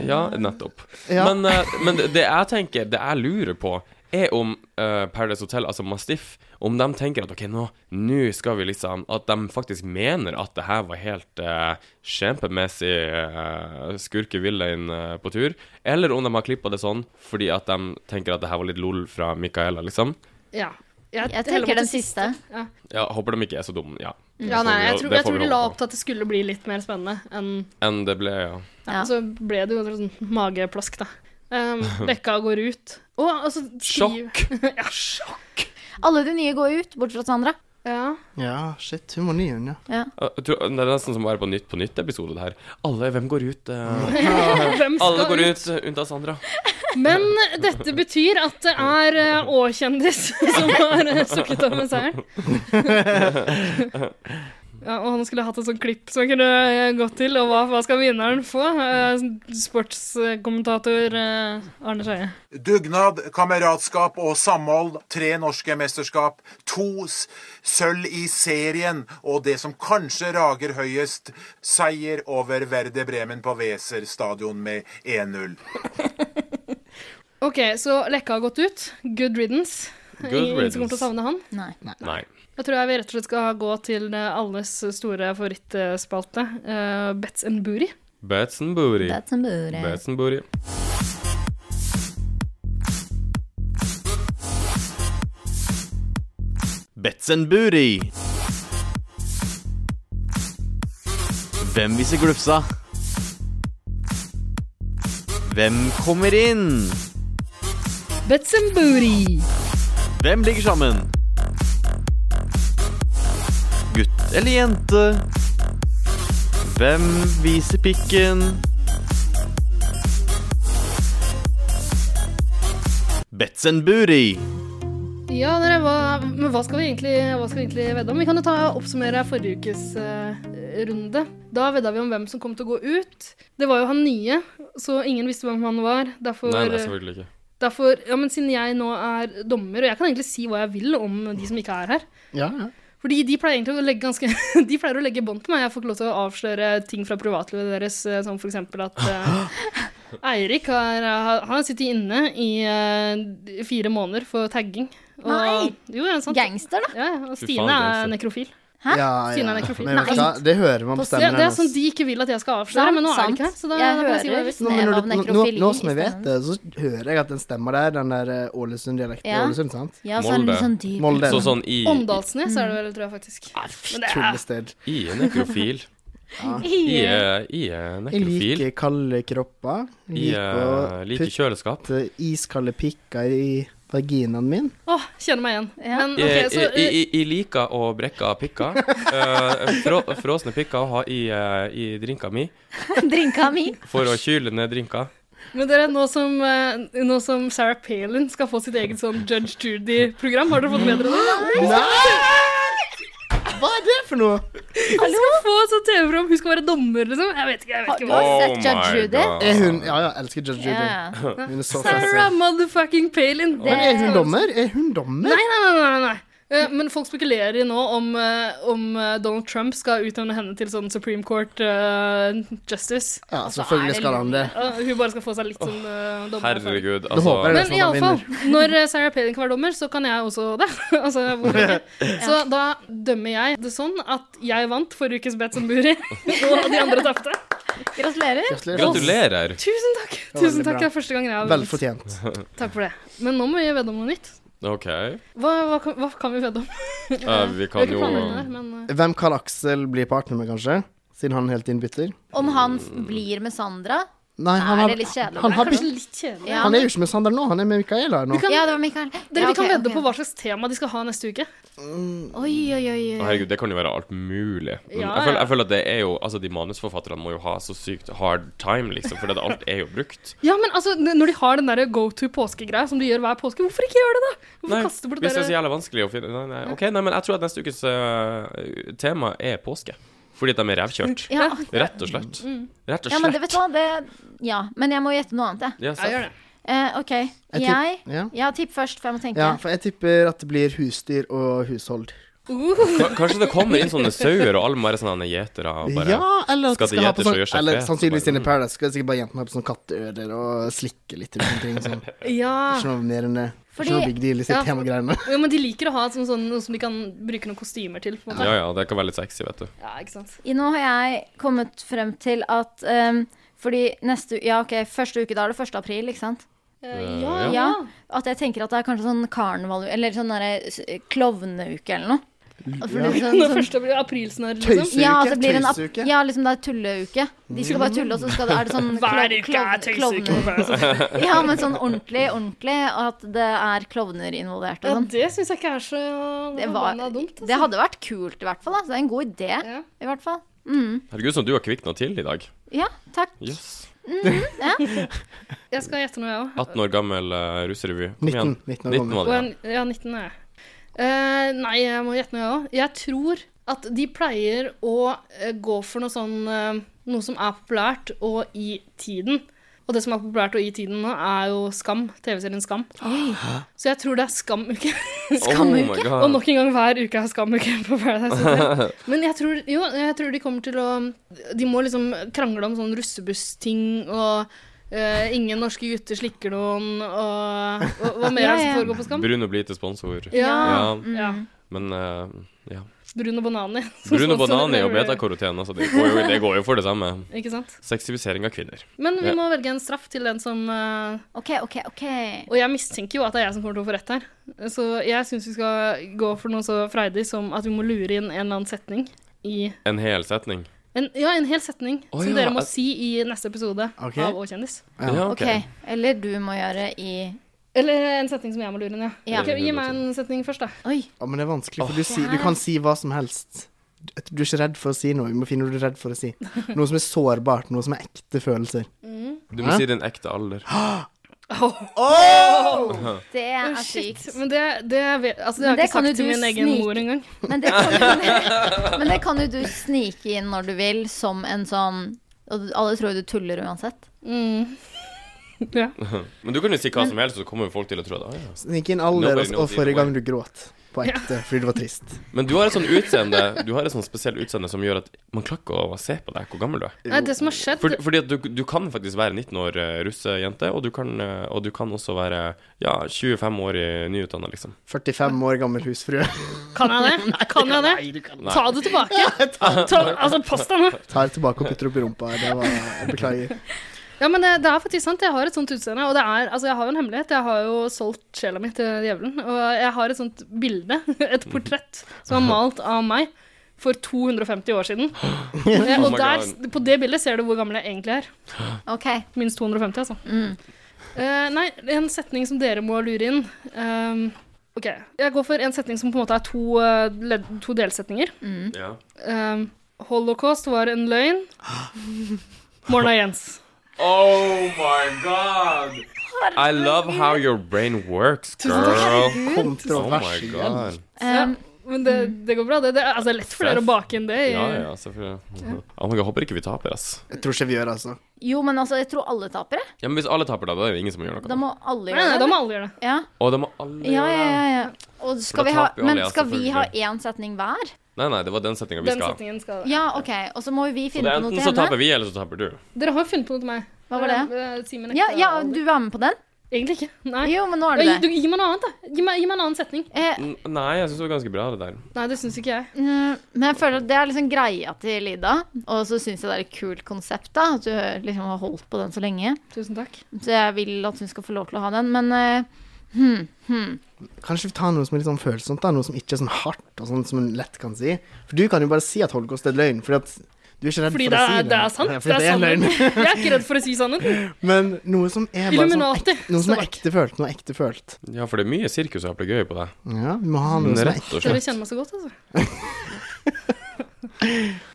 Speaker 5: Ja, nettopp.
Speaker 2: Ja.
Speaker 5: Men, eh, men det jeg tenker, det jeg lurer på, er om eh, Paradise Hotel, altså Mastiff, om de tenker at OK, nå, nå skal vi liksom At de faktisk mener at det her var helt eh, kjempemessig uh, skurkevillain eh, på tur, eller om de har klippa det sånn fordi at de tenker at det her var litt lol fra Micaela, liksom.
Speaker 3: Ja.
Speaker 1: Jeg
Speaker 3: heller mot
Speaker 1: tenker
Speaker 3: det
Speaker 1: den siste.
Speaker 3: Ja.
Speaker 5: Ja, Håper de ikke er så dumme, ja.
Speaker 3: Ja, nei, jeg tror,
Speaker 5: Mm. det
Speaker 3: jeg
Speaker 5: får
Speaker 3: tror
Speaker 5: vi
Speaker 3: de la
Speaker 5: håpe
Speaker 3: opp til at det skulle bli litt mer spennende enn
Speaker 5: Enn det ble, ja.
Speaker 3: ja. Så ble det jo en sånn mageplask, da. Um, Bekka går ut. Å, altså Sjokk! ja, sjokk.
Speaker 1: Alle de nye går ut, bortsett fra Sandra.
Speaker 3: Ja.
Speaker 2: Ja, shit. Hun var ny, hun, ja.
Speaker 5: Eh, Jeg tror, det er nesten som å være på Nytt på Nytt-episode, det her. Alle, hvem går ut? eh?
Speaker 3: Hvem skal
Speaker 5: Alle går ut, eh, unntatt Sandra.
Speaker 3: Men dette betyr at det er eh, Å-kjendis som har eh, sukket over seieren. Ja, og han skulle hatt et sånt klipp som jeg kunne eh, gått til, og hva, hva skal vinneren få? Eh, Sportskommentator eh, Arne Skeie.
Speaker 14: Dugnad, kameratskap og samhold. Tre norske mesterskap. To s- sølv i serien. Og det som kanskje rager høyest, seier over Verde Bremen på Weser stadion med 1-0.
Speaker 3: Ok, så Lekka har gått ut. Good riddance.
Speaker 5: Good
Speaker 3: Ingen som kommer til
Speaker 5: riddance.
Speaker 3: å savne han.
Speaker 5: Nei.
Speaker 3: Da tror jeg vi rett og slett skal gå til eh, alles store favorittspalte, eh, Bets and Booty.
Speaker 5: Batsenburi.
Speaker 3: Batsenburi.
Speaker 5: Batsenburi.
Speaker 7: Betzenburi. Hvem viser glufsa? Hvem kommer inn?
Speaker 3: Bets and Booty.
Speaker 7: Hvem ligger sammen? Gutt eller jente? Hvem viser pikken? Betzenburi.
Speaker 3: Ja, dere, hva, men hva skal, vi egentlig, hva skal vi egentlig vedde om? Vi kan jo ta og oppsummere forrige ukes eh, runde. Da vedda vi om hvem som kom til å gå ut. Det var jo han nye, så ingen visste hvem han var. Derfor,
Speaker 5: Nei, nei, selvfølgelig ikke.
Speaker 3: derfor Ja, men siden jeg nå er dommer, og jeg kan egentlig si hva jeg vil om de som ikke er her.
Speaker 2: Ja, ja.
Speaker 3: Fordi de pleier egentlig å legge ganske De pleier å legge bånd på meg. Jeg får ikke lov til å avsløre ting fra privatlivet deres, eh, som for eksempel at eh, Eirik har, eh, har- har sittet inne i eh, fire måneder for tagging. Og,
Speaker 1: Nei!
Speaker 3: Jo, ja, sant. Gangster, da. Ja, ja, og
Speaker 2: Fy
Speaker 3: Stine
Speaker 2: faen,
Speaker 3: er
Speaker 2: gangster.
Speaker 3: nekrofil.
Speaker 2: Hæ? Ja,
Speaker 3: Stine
Speaker 2: ja.
Speaker 3: er nekrofil.
Speaker 2: Men vet du hva, det hører man på
Speaker 3: Det,
Speaker 2: stemmen
Speaker 3: det er sånn
Speaker 2: hennes.
Speaker 3: de ikke vil at jeg skal avsløre, men nå er det ikke her. Så da,
Speaker 1: Jeg
Speaker 3: da kan jeg si hva
Speaker 1: hører
Speaker 3: jeg vil.
Speaker 2: Nå, men når, du, nå, nå som jeg vet det, så hører jeg at den stemmer der, den der eh, Ålesund-dialekten i
Speaker 3: Ja.
Speaker 2: Ålesund, sant?
Speaker 3: Ja, så er den litt sånn dyp.
Speaker 2: Molde.
Speaker 5: Så sånn i-
Speaker 3: Åndalsnes er det vel, tror jeg faktisk. Men det er
Speaker 2: Tullested.
Speaker 5: I er nekrofil.
Speaker 2: Ja.
Speaker 5: I er, I er
Speaker 2: Jeg
Speaker 5: nekrofil.
Speaker 2: liker kalde kropper.
Speaker 5: I er
Speaker 2: Liker å
Speaker 5: like kjøleskap.
Speaker 2: putte eh, iskalde pikker i vaginaen min.
Speaker 3: Åh, kjenner meg igjen. Men
Speaker 5: I,
Speaker 3: ok, så eh,
Speaker 5: i, i, i liker å brekke av pikker. Eh, frå, frosne pikker å ha i, eh, i drinka mi
Speaker 1: Drinka mi.
Speaker 5: for å kyle ned drinka.
Speaker 3: Men dere, nå som, eh, nå som Sarah Palin skal få sitt eget sånn Judge Judy-program, har dere fått med dere det?
Speaker 2: Hva er det for noe?
Speaker 3: Hun skal få et sånt TV-program, hun skal være dommer, liksom. Jeg vet ikke, jeg vet ikke
Speaker 2: Har du sett Oh Judge my Judy?
Speaker 5: Ah.
Speaker 2: God. Er hun-
Speaker 3: ja,
Speaker 2: ja, jeg elsker Judge Judy. Hun er så
Speaker 3: Sarah
Speaker 2: fett.
Speaker 3: motherfucking Palin.
Speaker 2: Men er hun dommer? Er hun
Speaker 3: Nei,
Speaker 2: dommer?
Speaker 3: nei, nei. nei, nei. Eh, Men folk spekulerer i nå om, eh, om eh, Donald Trump skal utnevne henne til sånn Supreme Court eh, Justice.
Speaker 2: Ja, selvfølgelig skal han det.
Speaker 3: Ja, hun bare skal få seg litt sånn eh, dommer.
Speaker 5: Herregud,
Speaker 2: Da håper jeg det
Speaker 5: altså.
Speaker 2: er
Speaker 3: Men
Speaker 2: sånn han
Speaker 3: iallfall,
Speaker 2: vinner.
Speaker 3: når eh, Sarah Palin kan være dommer, så kan jeg også det. altså, hvorfor ikke? Så da dømmer jeg det sånn at jeg vant forrige ukes Bet som Buri, og de andre tapte. Gratulerer.
Speaker 5: Gratulerer.
Speaker 3: Tusen takk.
Speaker 5: var
Speaker 3: Tusen
Speaker 5: veldig
Speaker 3: takk,
Speaker 5: bra.
Speaker 3: det er første gangen jeg har vunnet.
Speaker 2: Velfortjent.
Speaker 3: Takk for det. Men nå må vi vedde om noe nytt.
Speaker 5: OK.
Speaker 3: Hva, hva, kan, hva kan vi vedde om?
Speaker 5: Ja, vi kan
Speaker 3: Jeg vet ikke
Speaker 5: jo-
Speaker 3: planene her, men, eh,
Speaker 2: Hvem Karl Aksel blir partner med, kanskje? Siden han er helt innbytter?
Speaker 1: Om han f- blir med Sandra?
Speaker 2: Nei, han
Speaker 1: er
Speaker 2: har-
Speaker 1: det litt kjedelig?
Speaker 2: han har
Speaker 1: Kanskje
Speaker 2: blitt-
Speaker 1: litt kjedelig.
Speaker 2: Han er jo ikke med Sander nå, han er med Mikaela nå.
Speaker 3: Vi kan-
Speaker 1: Ja, det var Mikael.
Speaker 3: Dere,
Speaker 1: Ja,
Speaker 3: vi kan
Speaker 1: ok,
Speaker 3: vedde
Speaker 1: ok.
Speaker 3: på hva slags tema de skal ha neste uke.
Speaker 1: Oi, oi, oi.
Speaker 5: Å,
Speaker 1: oi.
Speaker 5: Herregud, det kan jo være alt mulig. Men
Speaker 3: Ja,
Speaker 5: jeg, føler,
Speaker 3: ja.
Speaker 5: jeg føler at det er jo Altså, de manusforfatterne må jo ha så sykt hard time, liksom, for det, alt er jo brukt.
Speaker 3: Ja, men altså, n- Når de har den der go to påskegreia som de gjør hver påske, hvorfor ikke gjøre det, da? Hvorfor
Speaker 5: Nei,
Speaker 3: kaste bort
Speaker 5: hvis det
Speaker 3: der-
Speaker 5: er så jævla vanskelig å finne Nei, nei, ok, nei, men jeg tror at neste ukes eh, tema er påske. Fordi at de er revkjørt.
Speaker 1: Ja.
Speaker 5: Rett og slett.
Speaker 1: Mm.
Speaker 5: Rett og
Speaker 1: Ja, men det
Speaker 5: slett.
Speaker 1: vet du hva, det Ja, men jeg må gjette noe annet,
Speaker 5: Ja,
Speaker 1: jeg.
Speaker 5: sant. Ja, gjør det.
Speaker 1: Eh, OK.
Speaker 2: Jeg tipp-
Speaker 1: Jeg
Speaker 2: ja.
Speaker 1: Ja, tipp først, for jeg må tenke.
Speaker 2: Ja, for jeg tipper at det blir husdyr og hushold.
Speaker 5: Ka- Kanskje det kommer inn sånne sauer, og alle bare sånne gjetere og bare
Speaker 2: ja, eller at
Speaker 5: skal
Speaker 2: de
Speaker 5: til
Speaker 2: skal ha på
Speaker 5: gjeters og
Speaker 2: sånn
Speaker 5: gjøre seg
Speaker 2: Eller
Speaker 5: fet, så
Speaker 2: sannsynligvis
Speaker 5: bare,
Speaker 2: inne i Paradise skal sikkert bare jentene ha på sånn katteører og slikke litt rundt omkring. Sånn.
Speaker 3: Ja.
Speaker 2: Ikke noe mer enn det.
Speaker 3: Ah. Fordi-
Speaker 2: Ikke noe big deal i sitt
Speaker 3: ja.
Speaker 2: temagreiene.
Speaker 3: Jo, men de liker å ha sånn, sånn, noe som de kan bruke noen kostymer til. På en
Speaker 5: mm.
Speaker 3: måte.
Speaker 5: Ja ja, det kan være litt sexy, vet du.
Speaker 3: Ja, ikke sant?
Speaker 1: I Nå har jeg kommet frem til at ehm, Fordi neste u- Ja, OK, første uke, da er det 1. april, ikke sant?
Speaker 5: Eh, ja.
Speaker 1: At jeg tenker at det er kanskje sånn karneval... Eller sånn derre s- klovneuke eller noe. Og for
Speaker 3: Ja.
Speaker 1: det er
Speaker 3: Når
Speaker 1: sånn-
Speaker 3: første blir aprilsnarr, liksom.
Speaker 1: Tøyseuke, Ja, at det blir en ap- tøyseuke. ja, liksom det er tulleuke. De skal bare tulle, og så skal det, er det sånn
Speaker 3: Hver
Speaker 1: klo-
Speaker 3: uke er
Speaker 1: klovn-
Speaker 3: tøyseuke.
Speaker 1: klovner. Ja, men sånn ordentlig, ordentlig. Og at det er klovner involvert
Speaker 3: Ja,
Speaker 1: og sånn.
Speaker 3: det syns jeg ikke er så
Speaker 1: Det, var,
Speaker 3: forbanna dumt. altså.
Speaker 1: det hadde vært kult, i hvert fall. Da. Så det er en god idé, i hvert fall. Mm.
Speaker 5: Herregud, som du har kvikna til i dag.
Speaker 1: Ja, takk.
Speaker 5: Jøss.
Speaker 1: Mhm, ja.
Speaker 3: Jeg skal gjette noe, jeg òg.
Speaker 5: 18 år gammel uh, russerevy.
Speaker 2: 19, 19 år gammel.
Speaker 5: var det.
Speaker 3: Ja, 19 er jeg. Eh, nei, jeg må gjette noe, jeg òg. Jeg tror at de pleier å eh, gå for noe sånn eh, Noe som er populært og i tiden. Og det som er populært og i tiden nå, er jo Skam. TV-serien Skam. Så jeg tror det er Skamuke.
Speaker 5: Skamuke? Oh my God.
Speaker 3: og nok en gang hver uke er Skamuke på Paradise Hotel. Men jeg tror, jo, jeg tror de kommer til å De må liksom krangle om sånn russebussting og eh, ingen norske gutter slikker noen, og, og hva mer er det som foregår på Skam?
Speaker 5: Brun og blid til sponsor.
Speaker 3: Ja.
Speaker 5: ja.
Speaker 3: Ja.
Speaker 5: Men eh, ja.
Speaker 3: Brun og Banani. Sånn som
Speaker 5: Brun og
Speaker 3: sponsorer
Speaker 5: banan er jo
Speaker 3: Everywhere.
Speaker 5: betakaroten, altså. Det går, jo, det går jo for det samme.
Speaker 3: Ikke sant?
Speaker 5: Seksualisering av kvinner.
Speaker 3: Men vi
Speaker 5: Ja.
Speaker 3: må velge en straff til den som eh,
Speaker 1: Ok, ok, ok.
Speaker 3: Og jeg mistenker jo at det er jeg som kommer til å få rett her. Så jeg syns vi skal gå for noe så freidig som at vi må lure inn en eller annen setning i
Speaker 5: En hel setning.
Speaker 3: en, Ja, en hel setning
Speaker 5: Å,
Speaker 3: som
Speaker 5: ja,
Speaker 3: dere må
Speaker 5: jeg-
Speaker 3: si i neste episode
Speaker 5: Ok.
Speaker 3: av Å kjendis.
Speaker 5: Ja. Ja, ok.
Speaker 1: ok, eller du må gjøre i
Speaker 3: Eller en setning som jeg må lure inn, ja.
Speaker 1: Ja.
Speaker 3: Ok, gi meg en setning først, da.
Speaker 2: Ja, men det er vanskelig, for du, si, du kan si hva som helst. Du, du er ikke redd for å si noe. Du må finne noe du er redd for å si. Noe som er sårbart, noe som er ekte følelser.
Speaker 5: Du må
Speaker 2: Hæ?
Speaker 5: si din ekte alder.
Speaker 3: Oh!
Speaker 1: Det er altså
Speaker 3: shit. Men det, det, vet, altså, det har
Speaker 1: Men
Speaker 3: jeg
Speaker 1: det
Speaker 3: ikke
Speaker 1: kan
Speaker 3: sagt
Speaker 1: jo
Speaker 3: til
Speaker 1: du
Speaker 3: min egen
Speaker 1: snike-
Speaker 3: mor engang.
Speaker 1: Men det, kan, men det kan jo du snike inn når du vil, som en sånn og Alle tror jo du tuller uansett.
Speaker 3: Mm. Ja.
Speaker 5: Men du kan jo si hva som helst, så kommer jo folk til å tro det. Ah, ja.
Speaker 2: Snik inn alder
Speaker 5: Nobody
Speaker 2: og, og
Speaker 5: knows either
Speaker 2: forrige
Speaker 5: way.
Speaker 2: gang du gråt på ekte fordi du var trist.
Speaker 5: Men du har et sånn utseende Du har et sånn spesielt utseende som gjør at man klarer ikke å se på deg hvor gammel du er.
Speaker 3: Nei, det som har skjedd
Speaker 5: Fordi, fordi at du, du kan faktisk være 19 år eh, russejente, og du kan, eh, og du kan også være ja, 25 år i nyutdanna, liksom.
Speaker 2: 45 år gammel husfrue.
Speaker 3: Kan jeg det? Kan jeg det? Ta det tilbake! Ta, altså, pass deg nå!
Speaker 2: Tar tilbake og putter opp i rumpa. Det var, jeg beklager.
Speaker 3: Ja, men det, det er faktisk sant. Jeg har et sånt utseende. Og det er, altså, jeg har jo en hemmelighet. Jeg har jo solgt sjela mi til djevelen. Og jeg har et sånt bilde, et portrett, som er malt av meg for 250 år siden. Eh,
Speaker 5: Oh
Speaker 3: Og
Speaker 5: my
Speaker 3: der,
Speaker 5: God.
Speaker 3: på det bildet ser du hvor gammel jeg egentlig er. Minst 250, altså. Eh, nei, en setning som dere må lure inn. Um, OK. Jeg går for en setning som på en måte er to, eh, ledd, to delsetninger.
Speaker 5: Ja.
Speaker 3: Um, Holocaust var en løgn. Morna Jens.
Speaker 5: Oh my god! I love how your brain works,
Speaker 3: Tusen takk.
Speaker 5: girl.
Speaker 3: Herregud.
Speaker 5: Oh my
Speaker 3: Kontroversielt.
Speaker 5: god.
Speaker 1: ehm,
Speaker 3: ja, men det,
Speaker 2: Mm.
Speaker 3: det går bra. Det, det er altså, lett for dere å bake inn det. i-
Speaker 5: Ja, ja, selvfølgelig. Oh my god, håper ikke vi taper, ass.
Speaker 2: Jeg tror ikke vi gjør det, altså.
Speaker 1: Jo, men altså, jeg tror alle tapere.
Speaker 5: Ja, men hvis alle taper, da, da er det ingen som gjør noe.
Speaker 1: Da må alle
Speaker 3: Nei,
Speaker 1: gjøre
Speaker 3: nei,
Speaker 1: det.
Speaker 3: da må alle gjøre det.
Speaker 1: Ja,
Speaker 5: Og da må alle
Speaker 1: ja,
Speaker 5: gjøre
Speaker 1: ja.
Speaker 5: det.
Speaker 1: ja, ja. Og skal
Speaker 5: da
Speaker 1: vi ha,
Speaker 5: taper jo alle,
Speaker 1: men
Speaker 5: ja,
Speaker 1: skal vi ha
Speaker 5: selvfølgelig.
Speaker 1: én setning hver?
Speaker 5: Nei, nei, det var den setninga vi
Speaker 3: Den
Speaker 5: skal ha.
Speaker 3: setningen skal
Speaker 1: Ja, OK. Og så må jo vi
Speaker 5: Så det
Speaker 1: finne
Speaker 5: er
Speaker 1: på noe
Speaker 5: enten
Speaker 1: til
Speaker 5: så
Speaker 1: henne.
Speaker 5: taper vi, eller så taper du.
Speaker 3: Dere har jo funnet på noe til meg.
Speaker 1: Hva var det?
Speaker 3: Eh, Simen
Speaker 1: Ja,
Speaker 3: Ekte
Speaker 1: ja,
Speaker 3: Alder.
Speaker 1: du var med på den?
Speaker 3: Egentlig ikke. Nei.
Speaker 1: Jo, men nå er det Eh,
Speaker 3: Ja,
Speaker 1: det.
Speaker 3: gi- du- Gi meg noe annet, da. Gi meg, gi meg en annen setning.
Speaker 5: N- Nei, jeg syns det var ganske bra, det der.
Speaker 3: Nei, det syns ikke jeg.
Speaker 1: Mm, Men jeg føler at det er liksom greia til Ida. Og så syns jeg det er et kult konsept, da. At du liksom har holdt på den så lenge.
Speaker 3: Tusen takk.
Speaker 1: Så jeg vil at hun skal få lov til å ha den, men eh, hmm, hmm.
Speaker 2: Kanskje vi tar noe som er litt sånn følsomt, da. Noe som ikke er sånn hardt, og sånn som en lett kan si. For du kan jo bare si at holocaust er løgn, fordi at du er ikke redd
Speaker 3: Fordi
Speaker 2: for
Speaker 3: det
Speaker 2: å si
Speaker 3: er,
Speaker 2: det.
Speaker 3: det er sant.
Speaker 2: Ja,
Speaker 3: Det
Speaker 2: fordi
Speaker 3: er sannheten.
Speaker 2: løgn.
Speaker 3: Jeg er ikke redd for å si sannheten.
Speaker 2: Men noe som er bare sånn
Speaker 3: Illuminati,
Speaker 2: ek- Noe som
Speaker 3: står
Speaker 2: er
Speaker 3: bak.
Speaker 2: ektefølt. Noe ektefølt.
Speaker 5: Ja, for det er mye sirkus og eplegøy på deg.
Speaker 2: Ja, vi må ha noe som er
Speaker 5: Rett og
Speaker 3: Dere
Speaker 5: slett.
Speaker 3: kjenner meg så godt, altså.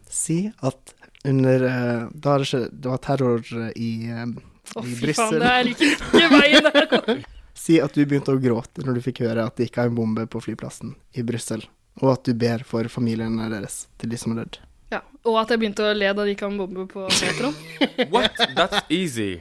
Speaker 2: Si at under eh, Da er det ikke Det var terror eh, i, eh,
Speaker 3: Å,
Speaker 2: i
Speaker 3: fy faen,
Speaker 2: Brussel.
Speaker 3: det er ikke, ikke veien der. går.
Speaker 2: Si at du begynte å gråte når du fikk høre at det gikk av en bombe på flyplassen i Brussel, og at du ber for familiene deres til de som er dødd.
Speaker 3: Ja. Og at jeg begynte å le da det gikk av en bombe på metroen.
Speaker 5: What? That's easy.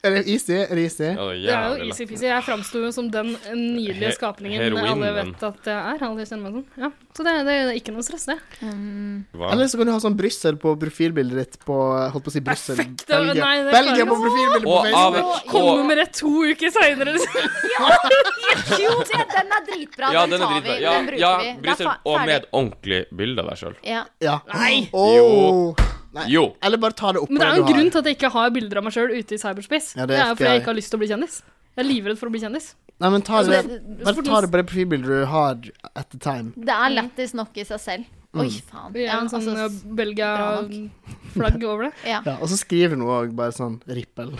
Speaker 2: Er det easy? Er det easy?
Speaker 5: Ja,
Speaker 3: Det er jo easy-peasy. Jeg framsto jo som den eh, nydelige
Speaker 5: He-
Speaker 3: skapningen
Speaker 5: heroinen.
Speaker 3: alle vet at jeg er. Alle kjenner meg sånn. Ja. Så det, det er ikke noe stress, det.
Speaker 2: Eller så kan du ha sånn Brussel på profilbildet ditt på Holdt på å si Brussel.
Speaker 3: Det var-
Speaker 2: Belgia.
Speaker 3: nei, det klarer
Speaker 2: Belgia
Speaker 3: jeg
Speaker 2: på
Speaker 3: ikke.
Speaker 2: profilbildet på
Speaker 5: Og av-
Speaker 2: Facebook!
Speaker 3: Kom
Speaker 5: og-
Speaker 3: med det to uker seinere, liksom.
Speaker 1: Jo, det, den er dritbra.
Speaker 5: Ja,
Speaker 1: den,
Speaker 5: den er
Speaker 1: tar vi.
Speaker 5: dritbra. Ja,
Speaker 1: den bruker
Speaker 5: ja,
Speaker 1: vi. Det er
Speaker 5: Brussel.
Speaker 1: fa-
Speaker 5: Og
Speaker 1: ferdig.
Speaker 5: med et ordentlig bilde av deg sjøl.
Speaker 1: ja.
Speaker 2: Ja.
Speaker 3: Nei.
Speaker 2: Åh. Nei.
Speaker 5: Jo.
Speaker 2: Eller bare ta det opp
Speaker 3: Men det er jo
Speaker 2: du
Speaker 3: en
Speaker 2: har.
Speaker 3: grunn til at jeg ikke har bilder av meg sjøl ute i cyberspace.
Speaker 2: Ja, det
Speaker 3: det,
Speaker 2: er
Speaker 3: er jo fordi jeg
Speaker 2: FBI.
Speaker 3: ikke har lyst til å bli kjendis. Jeg er livredd for å bli kjendis.
Speaker 2: Nei, men ta
Speaker 3: Altså,
Speaker 2: det,
Speaker 3: det-
Speaker 2: bare ta det på det profilbildet du har at the time.
Speaker 1: Det er lættis nok i seg selv. Oi,
Speaker 2: Mm.
Speaker 1: faen.
Speaker 3: Vi er
Speaker 1: Ja,
Speaker 3: en sånn
Speaker 1: altså,
Speaker 3: eh, Belgia-flagg over det.
Speaker 1: ja.
Speaker 2: Ja, og så skriver hun òg bare sånn Rippel.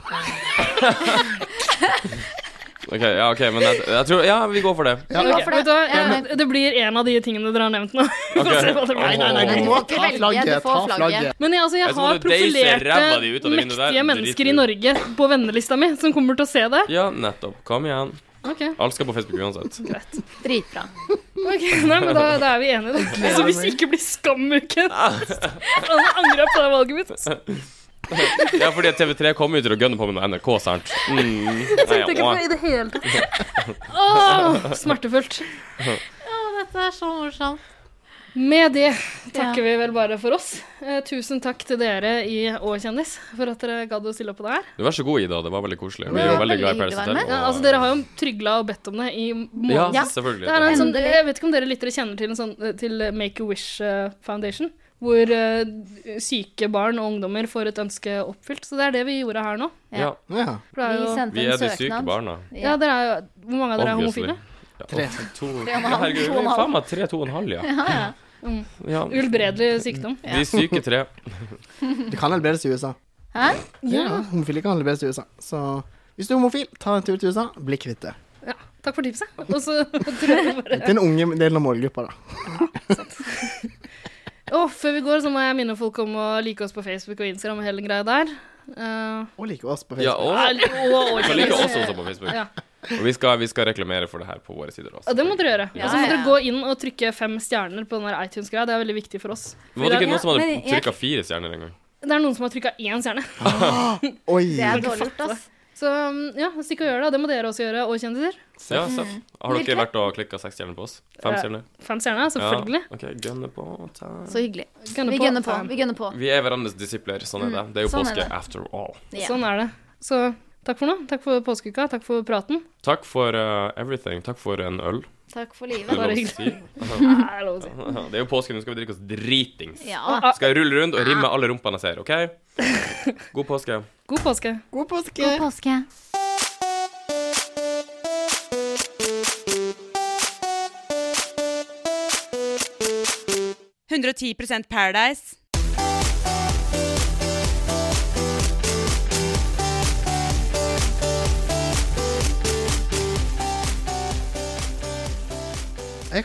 Speaker 5: Ok, ja, ok, men jeg, jeg tror Ja, vi går for det.
Speaker 2: Ja.
Speaker 3: Ok,
Speaker 1: Ja, for det-
Speaker 3: vet du hva?
Speaker 1: ja, men-
Speaker 3: det, det blir en av de tingene dere har nevnt nå. Vi får se hva det blir.
Speaker 2: Nei, nei, nei, du må ta
Speaker 1: velge,
Speaker 2: flagget.
Speaker 1: du får
Speaker 2: Ta
Speaker 1: flagget.
Speaker 2: flagget.
Speaker 3: Men jeg, altså, jeg
Speaker 5: Jeg tror
Speaker 3: har
Speaker 5: du deiser ræva di ut av
Speaker 3: profilerte,
Speaker 5: det vinduet der.
Speaker 3: mektige mennesker i
Speaker 5: Drit.
Speaker 3: Norge på vennelista mi som kommer til å se det.
Speaker 5: Ja, nettopp. Kom igjen.
Speaker 3: Ok,
Speaker 5: Alt skal på Facebook uansett.
Speaker 3: greit.
Speaker 1: Dritbra.
Speaker 3: Ok, nei, men da, da er vi enige, da. Så Altså, hvis det ikke blir skamuken Han angra på det valget mitt.
Speaker 5: Ja, fordi TV3 kom jo til å gønne på med noe NRK, sant? Mm.
Speaker 3: Jeg tenkte
Speaker 5: Nei,
Speaker 3: ikke på det i det hele tatt. Åh, smertefullt.
Speaker 5: åh.
Speaker 1: Å, dette er så morsomt.
Speaker 3: Med det takker vi vel bare for oss. Eh, tusen takk til dere i Å kjendis for at dere gadd å stille opp på det her.
Speaker 5: Du, vær så god, Ida. Det var veldig koselig. Vi
Speaker 3: Det
Speaker 5: er jo
Speaker 3: var
Speaker 5: veldig glad i
Speaker 3: hyggelig
Speaker 5: Paris
Speaker 3: å være med.
Speaker 5: Hotel.
Speaker 3: Ja,
Speaker 5: og-
Speaker 3: altså, dere har jo trygla og bedt om det i måneder.
Speaker 5: Ja, selvfølgelig.
Speaker 3: Det er en sånn,
Speaker 5: Endelig.
Speaker 3: jeg vet ikke om dere lyttere kjenner til, en sånn, til Make a Wish eh, Foundation, hvor eh, syke barn og ungdommer får et ønske oppfylt. Så det er det vi gjorde her nå.
Speaker 5: Ja.
Speaker 3: For det er jo-
Speaker 5: Vi er de syke barna.
Speaker 3: Ja, dere er jo, hvor mange av dere er homofile?
Speaker 5: Ja,
Speaker 3: Tre.
Speaker 5: To,
Speaker 3: Tre og en
Speaker 5: ja,
Speaker 3: halv,
Speaker 5: herregud,
Speaker 3: to og en halv.
Speaker 5: faen meg tre, to og en halv, ja.
Speaker 3: Mm.
Speaker 5: Ja.
Speaker 3: Uhelbredelig sykdom.
Speaker 5: De syke tre.
Speaker 2: Det kan helbredes i USA.
Speaker 1: Hæ?
Speaker 2: Ja, homofile kan helbredes i USA. Så hvis du er homofil, ta en tur til USA, bli kvitt det.
Speaker 3: Ja, takk for tipset. Og så tror jeg bare
Speaker 2: Det er en unge delen av målgruppa, da.
Speaker 3: Å, før vi går, så må jeg minne folk om å like oss på Facebook og Instagram og hele greia der. Eh,
Speaker 2: og like oss på
Speaker 5: Ja, og
Speaker 3: og-
Speaker 5: Du liker oss også på Facebook.
Speaker 3: Ja.
Speaker 5: Og vi skal, vi skal reklamere for det her på våre sider også.
Speaker 3: Ja, det må dere gjøre.
Speaker 5: Ja,
Speaker 3: og så må
Speaker 5: ja,
Speaker 3: dere gå inn og trykke fem stjerner på den der iTunes-greia. Det er veldig viktig for oss.
Speaker 5: Var det ikke noen som hadde
Speaker 3: Men jeg-
Speaker 5: trykka fire stjerner en gang?
Speaker 3: Det er noen som har trykka én stjerne.
Speaker 2: Oi.
Speaker 5: Det er dårlig
Speaker 3: gjort, ass. Så um, ja, stikk og gjør det. Det må dere også gjøre, og kjendiser.
Speaker 5: Ja, Seff. Har dere vært og klikka seks stjerner på oss? Fem
Speaker 3: Eh,
Speaker 5: stjerner?
Speaker 3: fem stjerner, selvfølgelig.
Speaker 5: Ja. Ok, gønne på. Ta.
Speaker 1: Så hyggelig.
Speaker 3: Gønner
Speaker 1: vi
Speaker 3: på.
Speaker 1: gønner på. Vi gønner på.
Speaker 5: Vi er hverandres disipler. Sånn er det. Det er jo
Speaker 1: Sånn er
Speaker 5: påske
Speaker 1: det.
Speaker 5: after all.
Speaker 1: Ja.
Speaker 3: Sånn er det. Så takk for nå. Takk for påskeuka. Takk for praten.
Speaker 5: Takk for eh, everything. Takk for en øl.
Speaker 1: Takk for livet.
Speaker 5: Det er lov
Speaker 3: Bare
Speaker 5: å si.
Speaker 3: hyggelig. Ja, det er lov å si.
Speaker 5: Ja, Det er jo påske, nå skal vi drikke oss dritings.
Speaker 3: Ja.
Speaker 5: Skal jeg rulle rundt og rimme alle rumpene jeg ser, OK? God påske.
Speaker 3: God påske.
Speaker 2: God påske.
Speaker 1: God påske.
Speaker 15: Paradise. 110 Paradise.
Speaker 2: Jeg